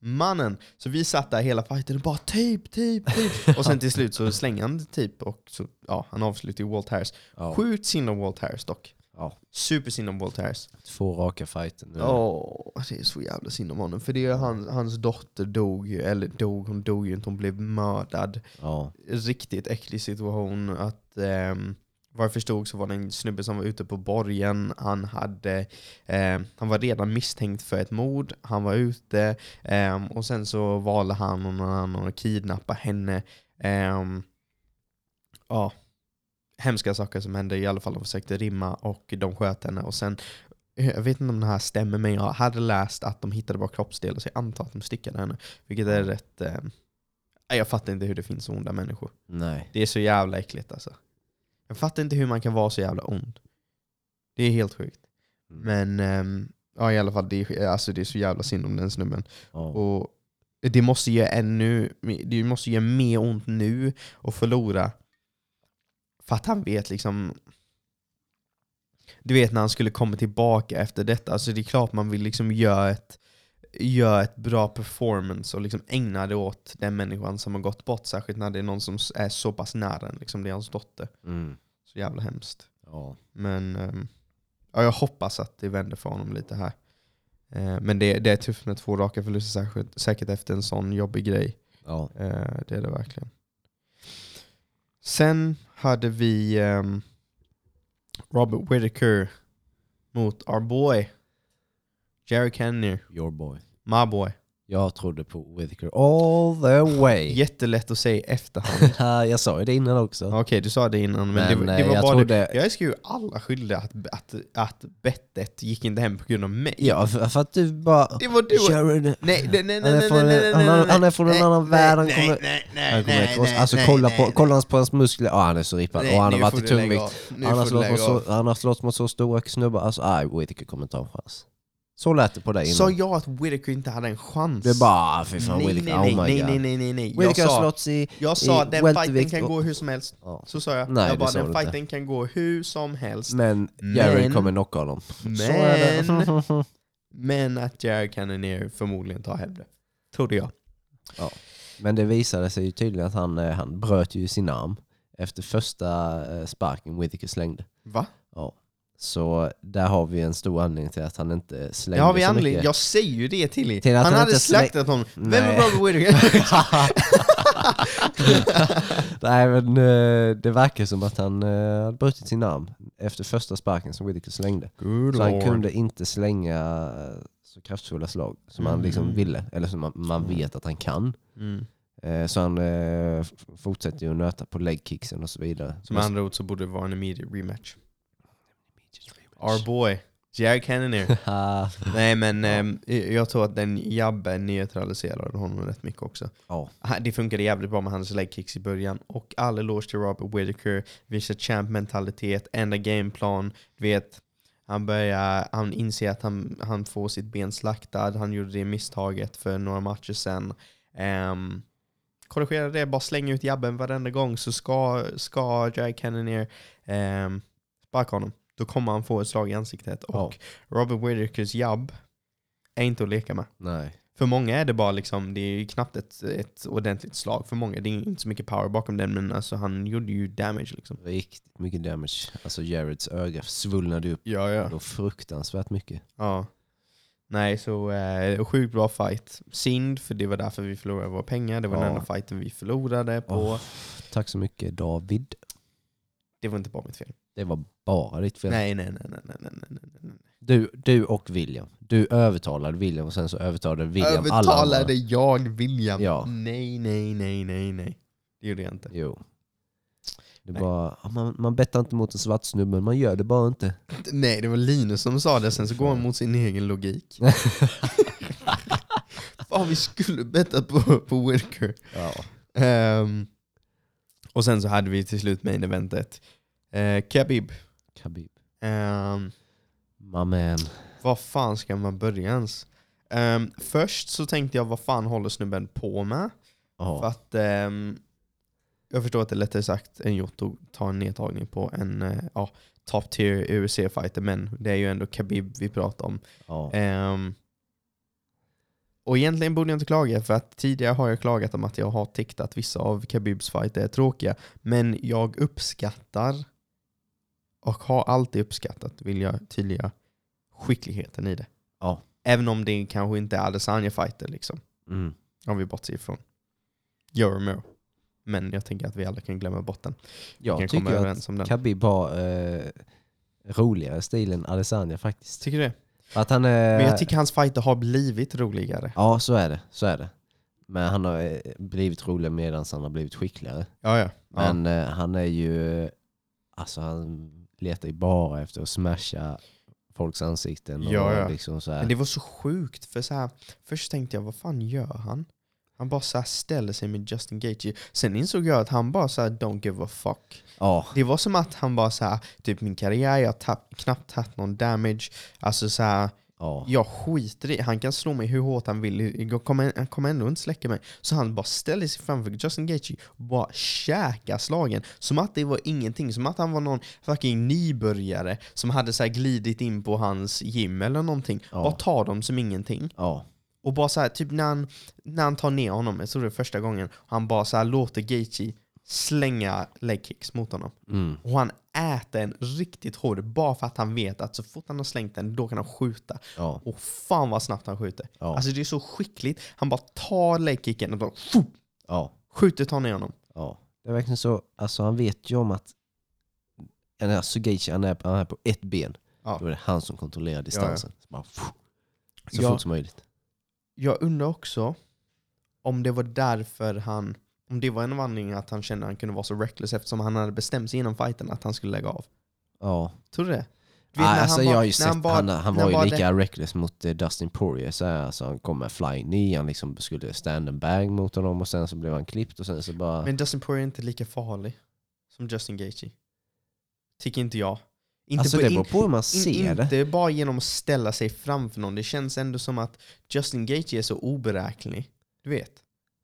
Mannen! Så vi satt där hela fighten och bara typ, typ, [laughs] typ. Och sen till slut så slänger han typ och så, ja, han avslutar ju Walt Harris. ja. Sjukt synd om Walt Harris dock. Ja. Supersynd om Walt Harris. Två raka fighter nu. Åh, det är så jävla synd om honom. För det är han, hans dotter dog ju, eller dog, hon dog ju inte, hon blev mördad. Ja. Riktigt äcklig situation. Att, ehm, vad jag förstod så var det en snubbe som var ute på borgen, han, hade, ehm, han var redan misstänkt för ett mord, han var ute ehm, och sen så valde han och någon annan att kidnappa henne. Ehm, ja, hemska saker som hände, i alla fall de försökte rimma och de sköt henne och sen jag vet inte om det här stämmer men jag hade läst att de hittade bara kroppsdelar så jag antar att de styckade henne. Vilket är rätt... Eh, nej, jag fattar inte hur det finns så onda människor. Nej. Det är så jävla äckligt alltså. Jag fattar inte hur man kan vara så jävla ond. Det är helt sjukt. Mm. Men ehm, ja, i alla fall, det är, alltså, det är så jävla synd om den snubben. Ja. Och det måste göra ännu, det måste göra mer ont nu att förlora. För att han vet liksom... Du vet när han skulle komma tillbaka efter detta, alltså det är klart man vill liksom göra ett, göra ett bra performance och liksom ägna det åt den människan som har gått bort, särskilt när det är någon som är så pass nära en, liksom det är hans dotter. Mm. Så jävla hemskt. Ja. Men ehm, ja, jag hoppas att det vänder för honom lite här. Eh, men det, det är tufft med två raka förluster, särskilt, säkert efter en sån jobbig grej. Ja. Eh, det är det verkligen. Sen hade vi ehm, Robert Whitaker mot our boy Jerry Kenner, Your boy. my boy. Jag trodde på Whitaker all the way. Jättelätt att säga i efterhand. [laughs] jag sa ju det innan också. Okej, du sa det innan, men, det, Men, var- det eh, var jag bara trodde- du. Jag älskar ju alla skyldiga att, att, att bettet gick inte hem på grund av mig. Ja, för, för att du bara... Det var du och Sharon, Nej, nej, nej, Han är nej, nej, från- nej, nej, han- nej, nej, han är från en nej, annan nej, värld, han nej, kommer- nej, nej, Han kommer nej, efter oss. nej, Alltså nej, kolla, nej, på, nej. kolla hans- på hans muskler. Ja, han är så rippad. Nej, och han har nu får varit i du lägga tungvikt. av. Nu Han får har, du slått mot lägga av. så, han har slått mot så stora snubbar. Alltså, aj, Whitaker kommer inte ha en chans. Så lät det på dig Sa innan. jag att Whitaker inte hade en chans? Det är bara, ah, fy fan nej, nej, Whitaker, oh my nej, nej, god. nej, nej, nej, nej. Jag Whitaker har sa, slåtts i... jag sa i att den fighten weltervikt kan och- gå hur som helst. Ja. Så sa jag. Nej, jag det bara, sa du den inte. fighten kan gå hur som helst. Men Jerry Men- kommer knocka honom. Mm, Så är Men, det. men att Jared Cannonier förmodligen tar hem det. Trodde jag. Ja. [laughs] Men det visade sig ju tydligen att han, eh, han bröt ju sin arm efter första eh, sparken Whittaker slängde. Va? Så där har vi en stor anledning till att han inte slängde Det har vi så anledning. mycket. Jag säger ju det till er. Till att han, han hade inte slä- slaktat honom. Vem Nej. är Robert [laughs] Whittaker? [laughs] Nej men eh, det verkar som att han eh, hade brutit sin arm efter första sparken som Whittaker slängde. Good Så han kunde inte slänga eh, så kraftfulla slag som han liksom Mm. ville, eller som man, man vet att han kan. Mm. Eh, Så han eh, f- fortsätter ju att nöta på legkicksen och så vidare. Som han... andra ord så borde det vara en immediate rematch. Our boy, Jared Cannonier. [laughs] Nej men ehm, jag tror att den jabben neutraliserade honom rätt mycket också. [laughs] Ja. Ha- Det funkade jävligt bra med hans legkicks i början. Och all eloge till Robert Whittaker. Visar champ-mentalitet, ändra gameplan. Du vet, han börjar, han inser att han, han får sitt ben slaktad. Han gjorde det misstaget för några matcher sedan. Ehm, korrigera det, bara släng ut jabben varenda gång så ska, ska Jack Cannonier um, sparka honom. Då kommer han få ett slag i ansiktet. Ja. Och Robert Whittakers jabb är inte att leka med. Nej. För många är det bara liksom, det är ju knappt ett, ett ordentligt slag för många. Det är inte så mycket power bakom den men alltså han gjorde ju damage liksom. Riktigt mycket damage. Alltså Jareds öga svullnade upp Ja, ja. då fruktansvärt mycket. Ja. Nej, så eh, sjukt bra fight. Synd, för det var därför vi förlorade våra pengar. Det var Ja. den enda fighten vi förlorade på. Åh, tack så mycket David. Det var inte bara mitt fel. Det var bara ditt fel. Nej, nej, nej, nej, nej, nej, nej, nej, nej. Du, du och William. Du övertalade William och sen så övertalade William alla andra. Övertalade jag William? Ja. Nej, nej, nej, nej, nej. Det gjorde jag inte. Jo. Det Nej. bara, man, man bettar inte mot en svart snubbe, man gör det [laughs] bara inte. Nej, det var Linus som sa det, sen så går han mot sin egen logik. Fan, vi skulle betta på, på Whitaker. Ja. Ehm, och sen så hade vi till slut main eventet. Uh, Khabib. Khabib. Ehm, My man. Vad fan ska man börja ens? Ehm, först så tänkte jag, vad fan håller snubben på med? För Ja. att ehm, jag förstår att det är lättare sagt än gjort att ta en nedtagning på en eh, ja, top tier UFC-fighter, men det är ju ändå Khabib vi pratar om. ja. Ehm, och egentligen borde jag inte klaga, för att tidigare har jag klagat om att jag har tyckt att vissa av Khabibs fighter är tråkiga, men jag uppskattar och har alltid uppskattat, vill jag tydliggöra, skickligheten i det. Ja. Även om det kanske inte är Adesanya-fighter liksom. Mm. Om vi bortser ifrån Joromir. Men jag tänker att vi alla kan glömma bort den. Vi Jag kan komma tycker att överens om den. Khabib har eh, roligare stil än Adesanya faktiskt. Tycker du det? Att han är... Men jag tycker hans fighter har blivit roligare. Ja, så är det. Så är det. Men han har eh, blivit rolig medan han har blivit skickligare. Ja, ja. ja. Men eh, han är ju... eh, Alltså han letar ju bara efter att smasha folks ansikten. Och Ja, ja. Liksom så här. Men det var så sjukt, för så här, först tänkte jag vad fan gör han? Han bara så här ställer sig med Justin Gaethje. Sen insåg jag att han bara så här don't give a fuck. Ja, Det var som att han bara så här, typ min karriär, jag har tapp, knappt haft någon damage. Alltså så här, ja. jag skiter i, han kan slå mig hur hårt han vill, jag kommer, han kommer ändå inte släcka mig. Så han bara ställer sig framför Justin Gaethje och bara käkar slagen. Som att det var ingenting, som att han var någon fucking nybörjare som hade så här glidit in på hans gym eller någonting. Ja. Bara tar dem som ingenting. ja. Och bara så här, typ när han, när han tar ner honom, jag tror det är första gången, han bara så här låter Gaethje slänga legkicks mot honom. Mm. Och han äter en riktigt hård bara för att han vet att så fort han har slängt den, då kan han skjuta. Ja. Och fan vad snabbt han skjuter. Ja. Alltså det är så skickligt. Han bara tar legkicken och bara fuh, ja. skjuter tar ner honom. Ja, det är verkligen så. Alltså han vet ju om att eller, alltså, Gage, han, är, han är på ett ben. Ja. Då är det han som kontrollerar distansen. Så, bara, pff, så Ja. fort som möjligt. Jag undrar också om det var därför han, om det var en av anledningarna att han kände att han kunde vara så reckless eftersom han hade bestämt sig innan fighten att han skulle lägga av. Ja. Tror du det? Du vet, Nej, när alltså, bara- jag har ju när sett, han, bara- han, när var ju bara lika reckless mot eh, Dustin Poirier. Så här, alltså, han kom med flying knee, han liksom skulle stand and bang mot honom och sen så blev han klippt och sen så bara... Men Justin Poirier är inte lika farlig som Justin Gaethje. Tycker inte jag. Inte alltså på det in- beror på hur man In- ser det. inte bara genom att ställa sig framför någon. Det känns ändå som att Justin Gaethje är så oberäknelig. Du vet.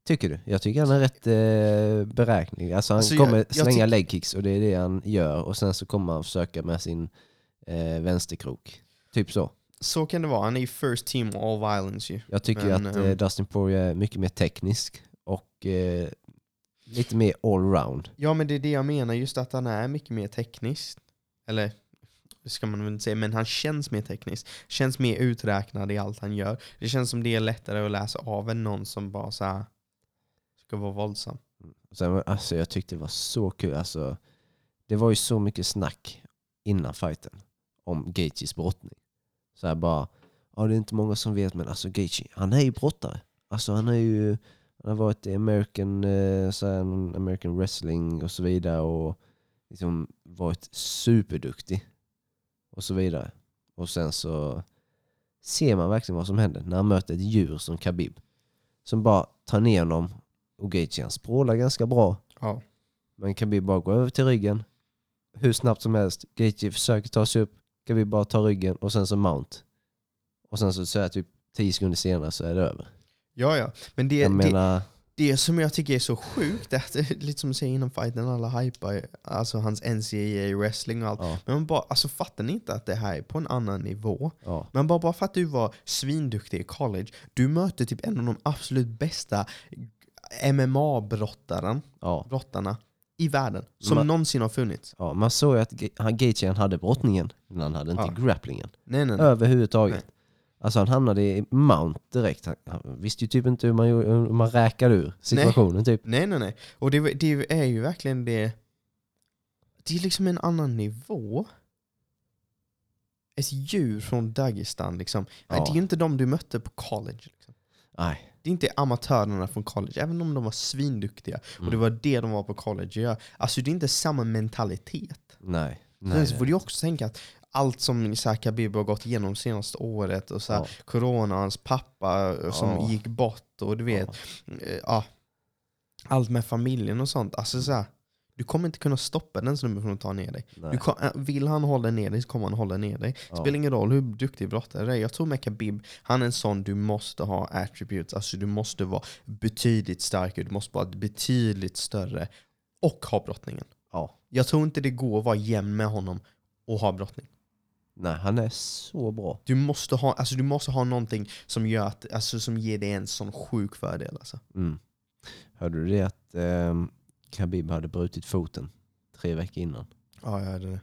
Tycker du? Jag tycker han är rätt eh, beräknelig. Alltså han Alltså, jag- kommer jag slänga tyck- legkicks och det är det han gör och sen så kommer han försöka med sin eh, vänsterkrok. Typ så. Så kan det vara. Han är ju first team all violence ju. Jag tycker Men, att ehm, eh, Dustin Poirier är mycket mer teknisk och eh, lite mer allround. Ja, men det är det jag menar. Just att han är mycket mer teknisk. Eller det ska man väl inte säga, men han känns mer teknisk. Känns mer uträknad i allt han gör. Det känns som det är lättare att läsa av än någon som bara så här, ska vara våldsam. Sen, var- alltså, jag tyckte det var så kul. Alltså, det var ju så mycket snack innan fighten om Gaethjes brottning. Så här bara, ja, det är inte många som vet men alltså Gaethje, han är ju brottare. Alltså han är ju, han har varit i American, eh, så här, någon American wrestling och så vidare och liksom varit superduktig och så vidare. Och sen så ser man verkligen vad som händer när han möter ett djur som Khabib. Som bara tar ner honom och Gaethje han språlar ganska bra. Ja. Men Khabib bara går över till ryggen hur snabbt som helst. Gaethje försöker ta sig upp. Khabib bara tar ryggen och sen så mount. Och sen så, så här, typ 10 sekunder senare så är det över. Ja, ja. Men det, Jag det, menar, det som jag tycker är så sjukt är att, det är lite som du säger innan fighten, alla hypar ju, alltså hans NCAA wrestling och allt. ja, Men man bara, alltså fattar ni inte att det här är på en annan nivå? ja. Men bara, bara för att du var svinduktig i college, du mötte typ en av de absolut bästa MMA-brottaren, ja. brottarna i världen som Ma- någonsin har funnits. Ja, man såg ju att Ga- han- Gaethje han hade brottningen, men han hade inte Ja. grapplingen. Nej, nej, nej. Överhuvudtaget. Alltså han hamnade i mount direkt. Han, han visste ju typ inte hur man, gjorde- hur man räkade ur situationen typ. Nej, nej, nej. Och det, det är ju verkligen det. Det är liksom en annan nivå. Ett djur från Dagestan liksom. Nej, Ja. Det är ju inte de du mötte på college. Liksom. Nej. Det är inte amatörerna från college, även om de var svinduktiga. Och det Mm. var det de var på college. Ja. Alltså det är inte samma mentalitet. Mm, Nej. Sen Nej. så får du ju också tänka att allt som så här, Khabib har gått igenom senaste året och så här, Ja. corona, hans pappa eh, som Ja. gick bort och du vet, Ja. eh, ja, allt med familjen och sånt. Alltså så här, du kommer inte kunna stoppa den snubben från att ta ner dig. Nej. Du, kom- eh, vill han hålla ner dig så kommer han hålla ner dig. Ja. Spelar ingen roll hur duktig brottare du är. Jag tror med Khabib, han är en sån du måste ha attributes. Alltså du måste vara betydligt starkare, du måste vara betydligt större och ha brottningen. Ja. Jag tror inte det går att vara jämn med honom och ha brottning. Nej, han är så bra. Du måste ha, alltså du måste ha någonting som, gör att, alltså som ger dig en sån sjuk fördel. Alltså. Mm. Hörde du det att ehm, Khabib hade brutit foten tre veckor innan? Ja, jag hörde det.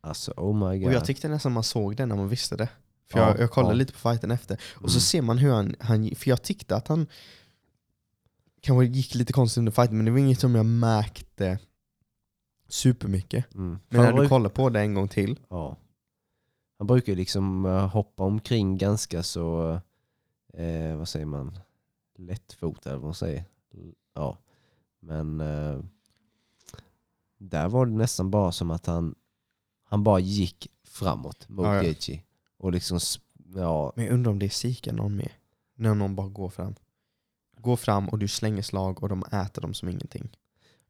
Alltså oh my god. Och jag tyckte nästan man såg det när man visste det. För Ja, jag, jag kollade ja. lite på fighten efter. Och så Mm. ser man hur han, han, för jag tyckte att han kanske gick lite konstigt under fighten, men det var inget som jag märkte supermycket. mm. Men han, när du bruk- kollar på det en gång till. ja. han brukar ju liksom eh, hoppa omkring ganska så, eh, vad säger man, lättfotad eller vad man säger. L- Ja. Men eh, där var det nästan bara som att han, han bara gick framåt mot Ja, ja. Gaethje. Och liksom, sp- ja, Men jag undrar om det psykar någon mer. När någon bara går fram. Går fram och du slänger slag och de äter dem som ingenting.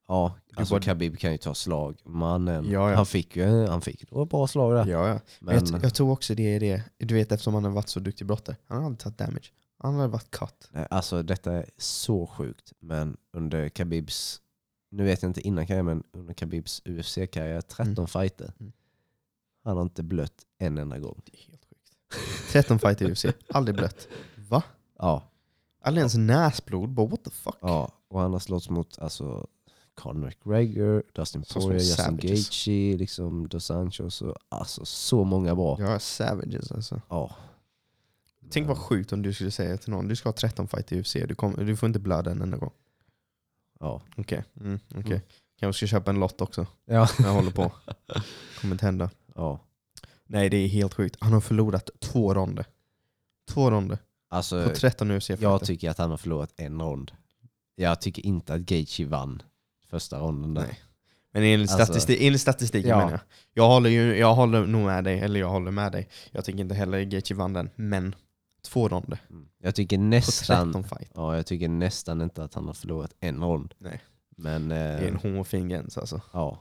Ja, alltså bara- Khabib kan ju ta slag. Mannen, Ja, ja. han fick ju han fick då ett bra slag där. Ja, ja. Men Men, jag, t- jag tror också det är det, du vet eftersom han har varit så duktig brottare. Han har aldrig tagit damage. Han har varit cut. nej, alltså detta är så sjukt. Men under Khabibs, nu vet jag inte innan karriär, men under Khabibs UFC-karriär, 13 Mm. fighter. Mm. Han har inte blött en enda gång. Det är helt sjukt. [laughs] 13 fighter i UFC, aldrig blött. Va? Ja, Aldrig ens näsblod, bara what the fuck? ja. och han har slått mot alltså, Conor McGregor, Dustin Så små Poirier, Justin savages. Gaethje, liksom Dos Anjos. Och, alltså så många bra. Ja. Jag är savages alltså. Tänk vad sjukt om du skulle säga till någon, du ska ha 13 fighter i UFC, du, kommer- du får inte blöda en enda gång. Ja. Okej, mm, okej. Mm. Kanske ska köpa en lott också, Ja. när jag håller på. [laughs] Kommer inte hända. ja. Nej det är helt sjukt, han har förlorat två ronder. Två ronder Alltså, på 13 UFC-fighter. Jag tycker att han har förlorat en rond. Jag tycker inte att Gaethje vann första ronden där. Nej. Men enligt, Alltså- statistik, enligt statistiken Ja. menar jag. Jag håller, ju, jag håller nog med dig, eller jag håller med dig. Jag tycker inte heller Gaethje vann den, men två ronder Mm. Jag tycker på 13 nästan fight. ja, jag tycker nästan inte att han har förlorat en rond. Nej. Men, Det är en eh, hårfin gräns alltså. ja.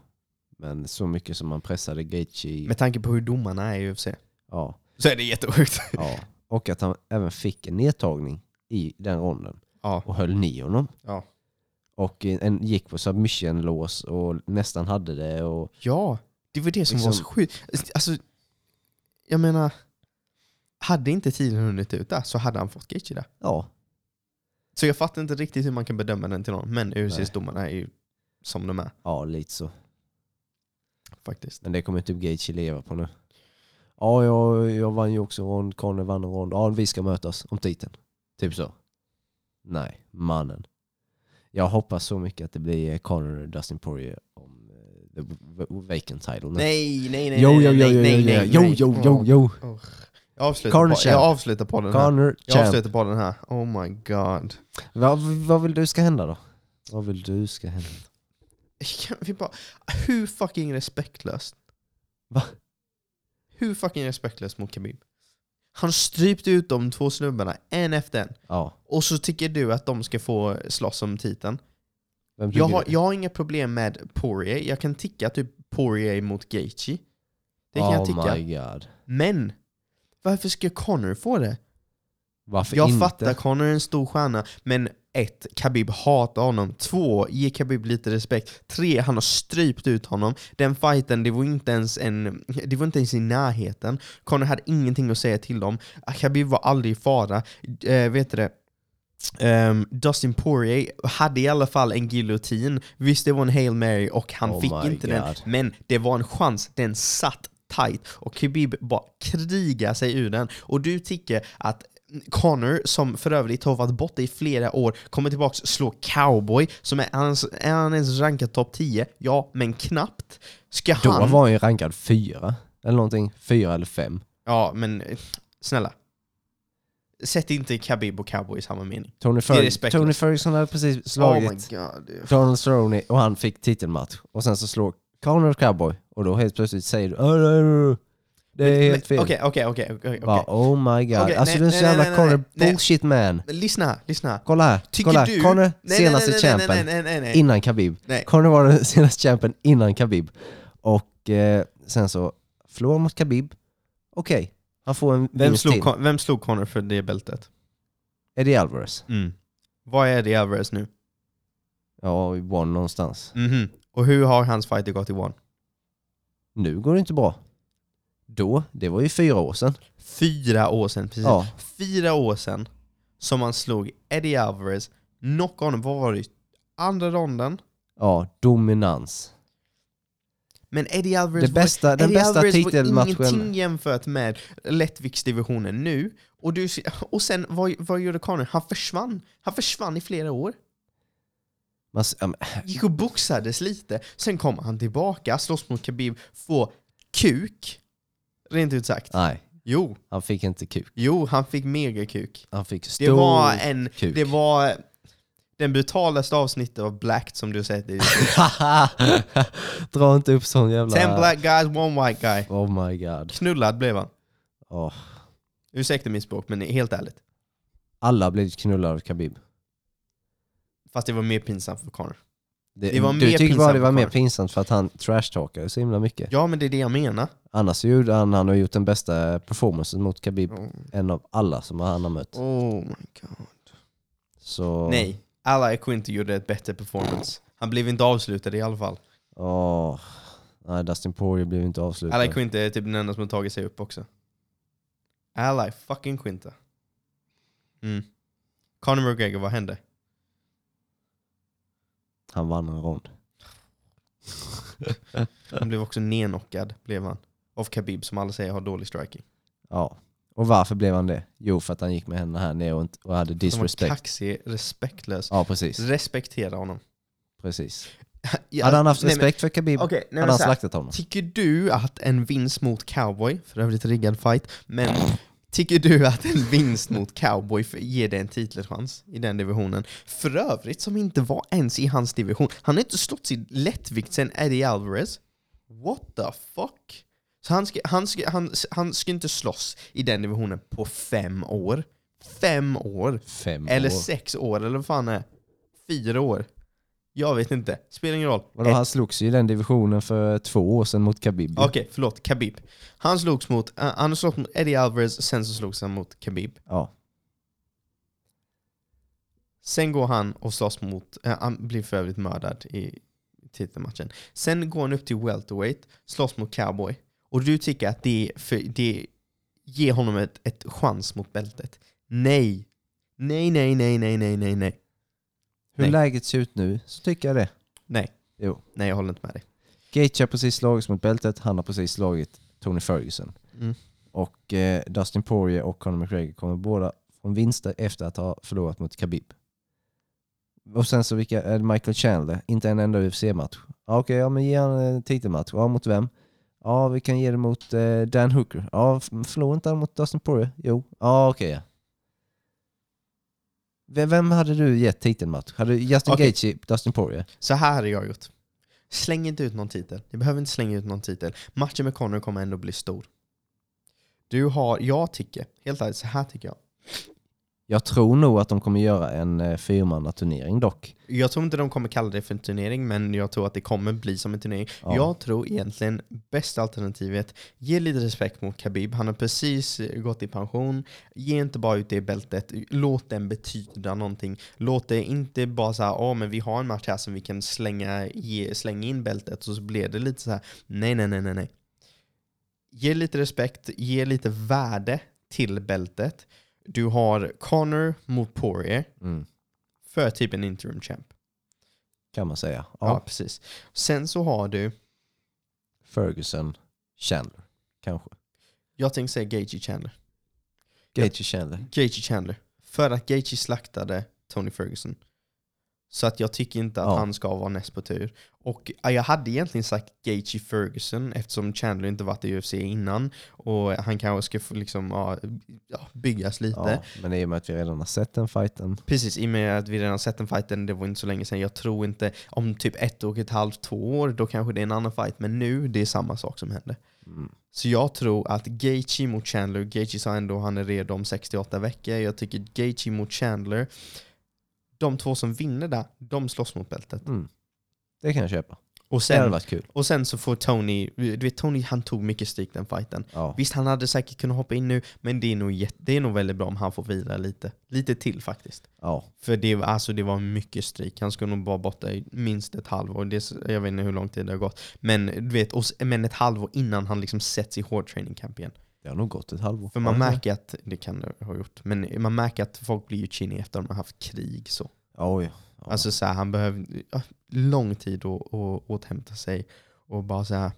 Men så mycket som han pressade Gaethje i- Med tanke på hur domarna är i UFC ja, så är det jättesjukt. ja. Och att han även fick en nedtagning i den ronden Ja. och höll ner honom. Ja. Och eh, en, gick på submission-lås och nästan hade det. Och, ja, det var det som var så Liksom- sjukt. Alltså, jag menar, hade inte tiden hunnit ut där så hade han fått Gaethje där. ja. Så jag fattar inte riktigt hur man kan bedöma den till någon. Men Nej. UCS-domarna är ju som de är Ja, lite så. faktiskt. Men det kommer typ Gage leva på nu. Ja, jag, jag vann ju också en rond, Conny vann en rond. Ja, vi ska mötas om titeln. Typ så. Nej, mannen. Jag hoppas så mycket att det blir eh, Conor och Dustin Poirier om eh, the v- vacant title. nu. Nej, nej, nej, Jo, nej, jo, jo, nej, jo, nej, jo, nej, jo, nej. jo, jo, jo. Jag avslutar, Corner på, champ. jag avslutar på den här. Conor Jag champ. avslutar på den här. Oh my god. Vad, vad vill du ska hända då? Vad vill du ska hända? Kan vi bara, hur fucking respektlöst? Va? Hur fucking respektlöst mot Khabib? Han strypte ut de två snubbarna, en efter en. Ja, Och så tycker du att de ska få slåss om titeln. vem Jag tycker har, du? jag har inga problem med Poirier. Jag kan tycka typ Poirier mot Gaethje. Det kan jag Oh tycka. my god. Men varför ska Connor få det? Varför jag inte? fattar, Connor är en stor stjärna, men ett, Khabib hatar honom. Två, ge Khabib lite respekt. Tre, han har strypt ut honom. Den fighten, det var inte ens, en, det var inte ens i närheten. Connor hade ingenting att säga till dem. Khabib var aldrig i fara. Eh, vet du det? Ehm, Dustin Poirier hade i alla fall en giljotin. Visst, det var en Hail Mary och han Oh my fick inte den, God. men det var en chans. Den satt tight och Khabib bara krigar sig ur den. Och du tycker att Connor, som för övrigt har varit borta i flera år, kommer tillbaka och slår cowboy, som är, hans, är han ens rankad topp 10? Ja, men knappt. Ska Då han... var han ju rankad fyra. Eller någonting. Fyra eller fem. Ja, men eh, snälla. Sätt inte Khabib och cowboy i samma mening. Tony, är Fer- respektlöst. Tony Ferguson hade precis Oh my slagit god. Donald Cerrone och han fick titelmatch. Och sen så slår Conor Cowboy och då helt plötsligt säger du "Åh, nej, nej, nej. Det är helt Men- fel. Okej, okej, okej. okej, okej. Bara, oh my god. Okej, nej, alltså du är en så nej, jävla nej, nej, Conor nej. bullshit man. Men Lyssna här, lyssna här. Kolla här, Tycker kolla här. du- Conor, Nej, senaste nej, nej, nej, champen nej, nej, nej, nej. innan Khabib. Nej. Conor var den [laughs] senaste champen innan Khabib. Och eh, sen så, förlorar mot Khabib. Okej, han får en Vem vinst slog, till. Con- vem slog Connor för det bältet? Eddie Alvarez. Vad är det Alvarez nu? Ja, i One någonstans. Mhm. Och hur har hans fighter gått i one? Nu går det inte bra. Då, det var ju fyra år sedan. Fyra år sedan, precis. Ja. Fyra år sedan som han slog Eddie Alvarez, knockade honom, vad var det? Andra ronden? Ja, dominans. Men Eddie Alvarez Det bästa, den Eddie bästa Alvarez var titelmatchen. ingenting jämfört med lättviktsdivisionen nu. Och, du, och sen, vad, vad gjorde Connor? Han försvann. Han försvann i flera år. Man, s- [laughs] ja, men, Gick och boxades lite. Sen kom han tillbaka, slåss mot Khabib, får kuk. Rent ut sagt. nej, Jo, han fick inte kuk. jo, han fick megakuk. Han fick stor Det var en... kuk. Det var den brutalaste avsnittet av Black som du sett. i ditt liv. [laughs] Dra inte upp sån jävla... Ten black guys, one white guy. Oh my god. Knullad blev han. Åh. Ursäkta mitt språk, men helt ärligt. Alla har blivit knullade av Khabib. Fast det var mer pinsamt för Connor. Det, Det var mer du tyckte bara pinsamt det var för mer Conor. pinsamt för att han trashtalkade så himla mycket. Ja, men det är det jag menar. Annars så gjorde han, han har gjort den bästa performancen mot Khabib, Oh, en av alla som han har mött. my god. Så... Nej, Ally Quinto gjorde ett bättre performance. Han blev inte avslutad i alla fall. Åh. Nej, Dustin Poirier blev inte avslutad. Ally Quinto är typ den enda som har tagit sig upp också. Ally fucking Quinto. Mm. Conor McGregor, vad hände? Han vann en rond. Han blev också nenockad, blev han. Av Khabib som alla säger har dålig striking. Ja. Och varför blev han det? Jo, för att han gick med henne här ner och, inte, och hade Han var disrespect. kaxig, respektlös. Ja, precis. Respektera honom. precis. Ja, [laughs] hade han haft nej, men- respekt för Khabib Okej, nej, men hade han så här. slaktat honom. Tycker du att en vinst mot cowboy, för övrigt riggad fight, men tycker du att en vinst mot cowboy för- ger dig en titelchans i den divisionen? För övrigt som inte var ens i hans division. Han har inte stått sin lättvikt sen Eddie Alvarez. What the fuck? Så han ska, han, ska, han, han ska inte slåss i den divisionen på fem år. Fem år. Fem Eller år. sex år, eller vad fan är det? Fyra år. Jag vet inte. Spelar ingen roll. Eh, Vadå, han slogs ju i den divisionen för två år sedan mot Khabib. Okej, förlåt. Khabib. Han slogs mot, eh, han slogs mot Eddie Alvarez, sen så slogs han mot Khabib. Ja. Sen går han och slåss mot, eh, han blir för övrigt mördad i titelmatchen. Sen går han upp till welterweight, slåss mot cowboy. Och du tycker att det, är för, det ger honom ett, ett chans mot bältet? Nej! Nej, nej, nej, nej, nej, nej, nej. Hur Nej. läget ser ut nu så tycker jag det. Nej. Jo. Nej, jag håller inte med dig. Gaethje har precis slagits mot bältet, han har precis slagit Tony Ferguson. Mm. Och eh, Dustin Poirier och Conor McGregor kommer båda från vinster efter att ha förlorat mot Khabib. Och sen så vilka, är det Michael Chandler, inte en enda UFC-match. Ja, Okej, ja men ge han en titelmatch. Ja, mot vem? Ja, vi kan ge det mot eh, Dan Hooker. Ja, f- förlorar inte han mot Dustin Poirier? Jo. Ja, okej ja. Vem- Vem hade du gett titelmatch? Hade du Justin Okej. Gaethje, Dustin Poirier? Så här har jag gjort. Släng inte ut någon titel. Du behöver inte slänga ut någon titel. Matchen med Conor kommer ändå bli stor. Du har, jag tycker, helt ärligt, så här tycker jag. Jag tror nog att de kommer göra en eh, fyrmannaturnering dock. Jag tror inte de kommer kalla det för en turnering, men jag tror att det kommer bli som en turnering. Ja. Jag tror egentligen bästa alternativet, ge lite respekt mot Khabib. Han har precis eh, gått i pension. Ge inte bara ut det bältet. Låt den betyda någonting. Låt det inte bara så här, "Ah, men vi har en match här som vi kan slänga, ge, slänga in bältet. Så, så blev det lite så här, nej, nej, nej, nej, nej. Ge lite respekt, ge lite värde till bältet. Du har Connor mot Poirier Mm, för typ en interim champ. kan man säga. Ja, Ja. precis. Sen så har du, Ferguson, Chandler, kanske. jag tänkte säga Gaethje Chandler. Gaethje Chandler. Gaethje Chandler. För att Gaethje slaktade Tony Ferguson. Så att jag tycker inte att Ja. han ska vara näst på tur. Och ja, jag hade egentligen sagt Gaethje Ferguson eftersom Chandler inte varit i UFC innan. Och han kanske ska få liksom, ja, ja, byggas lite. Ja, men i och med att vi redan har sett den fighten. Precis, i och med att vi redan sett den fighten, det var inte så länge sedan. Jag tror inte, om typ ett och ett halvt, två år, då kanske det är en annan fight. Men nu, det är samma sak som händer. Mm. Så jag tror att Gaethje mot Chandler, Gaethje sa ändå han är redo om 68 veckor. Jag tycker Gaethje mot Chandler, de två som vinner där, de slåss mot bältet. Mm. Det kan jag köpa. Och Det hade sen, varit kul. och sen så får Tony, du vet Tony han tog mycket stryk den fighten. Ja. Visst han hade säkert kunnat hoppa in nu, men det är nog, jätte, det är nog väldigt bra om han får vila lite. Lite till faktiskt. Ja. För det, var- alltså det var mycket stryk. Han skulle nog vara borta i minst ett halvår. Det, är så- jag vet inte hur lång tid det har gått. Men, du vet, och, s- men ett halvår innan han liksom sätts i hård training camp igen. Det har nog gått ett halvår. För man Ja, märker att, det kan det ha gjort, men man märker att folk blir ju chini efter att de har haft krig. Så. Ja, oj. Ja. Alltså så här, han behöver ja, lång tid att, att återhämta sig och bara så här.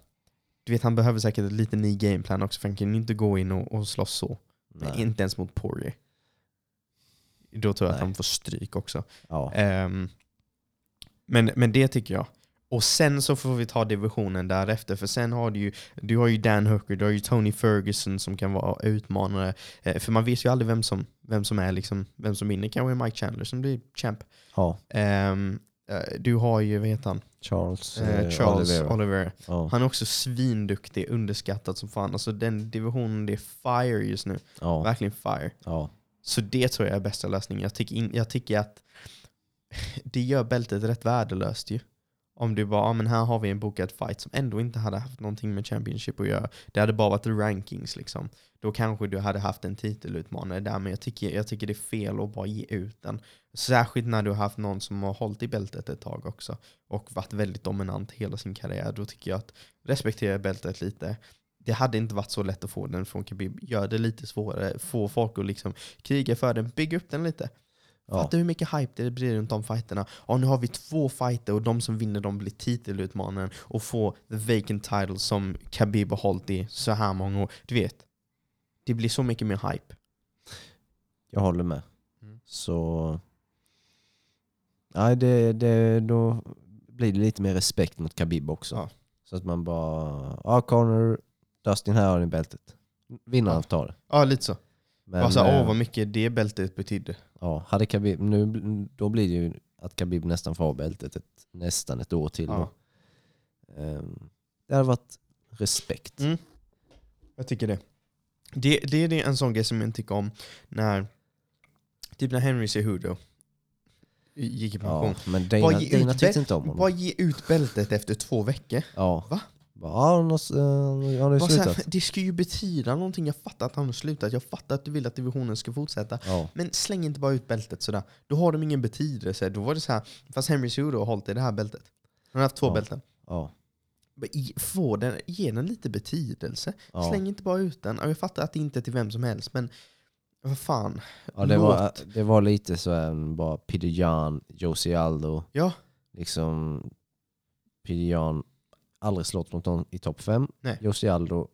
Du vet han behöver säkert lite ny gameplan också för han kan ju inte gå in och, och slåss så. Nej. Inte ens mot Poirier. Då tror jag att Nej. han får stryk också. Ja. Ehm, men, men det tycker jag. Och sen så får vi ta divisionen därefter, för sen har du ju, du har ju Dan Hooker, du har ju Tony Ferguson som kan vara utmanare. Eh, för man vet ju aldrig vem som, vem som är liksom, vem som vinner. Kanske är Mike Chandler som blir champ. ja. Ehm, eh, du har ju, vad heter han? Charles, Eh, eh, Charles Oliveira. Oliver. ja. Han är också svinduktig, underskattad som fan. Alltså den divisionen, det är fire just nu. Ja. Verkligen fire. Ja. Så det tror jag är bästa lösningen. Jag tycker, in, jag tycker att [laughs] det gör bältet rätt värdelöst ju. Om du bara, ah, men här har vi en bokad fight som ändå inte hade haft någonting med Championship att göra. Det hade bara varit rankings liksom. Då kanske du hade haft en titelutmanare där, men jag tycker, jag tycker det är fel att bara ge ut den. Särskilt när du har haft någon som har hållit i bältet ett tag också och varit väldigt dominant hela sin karriär. Då tycker jag att respektera bältet lite. Det hade inte varit så lätt att få den från Khabib. Gör det lite svårare, få folk att liksom kriga för den, bygga upp den lite. Ja. Fattar hur mycket hype det blir runt de fighterna. Ja, nu har vi två fighter och de som vinner de blir titelutmanaren och får the vacant title som Khabib har hållit i så här många år. Du vet, det blir så mycket mer hype. Jag håller med. Mm. Så... Nej, det, det, då blir det lite mer respekt mot Khabib också. Ja. Så att man bara, ja Connor, Dustin här har ni bältet. Vinnaren Ja. tar det. Ja, lite så. Men, Bara så, här, eh, åh vad mycket det bältet betydde. ja, hade Khabib, nu, bl- då blir det ju att Khabib nästan får ha bältet ett, nästan ett år till. Ja. Då. Ehm, det hade varit respekt. Mm. Jag tycker det. Det, det, det är en sån grej som jag inte tycker om när, typ när Henry Cejudo gick i pension. Ja, men Dana, Vad ge Dana ut tyckte inte om honom. Bara ge ut bältet efter två veckor. ja. Va? Bara, ja, han har, eh, han har Bara ju så slutat. här, det ska ju betyda någonting. Jag fattar att han har slutat. Jag fattar att du vill att divisionen ska fortsätta. Ja. Men släng inte bara ut bältet sådär. Då har de ingen betydelse. Då var det så här, fast Henry Cejudo har hållit i det här bältet. Han har haft två Ja. bälten. Ja. Men i- Få den, ge den lite betydelse. Ja. Släng inte bara ut den. Ja, Jag fattar att det inte är till vem som helst, men Vad fan? Ja, det, var, Låt. det var lite så här, bara Peter Jan, Josie Aldo. Ja. Liksom, Peter Jan aldrig slått mot någon i topp 5. Nej. Josie Aldo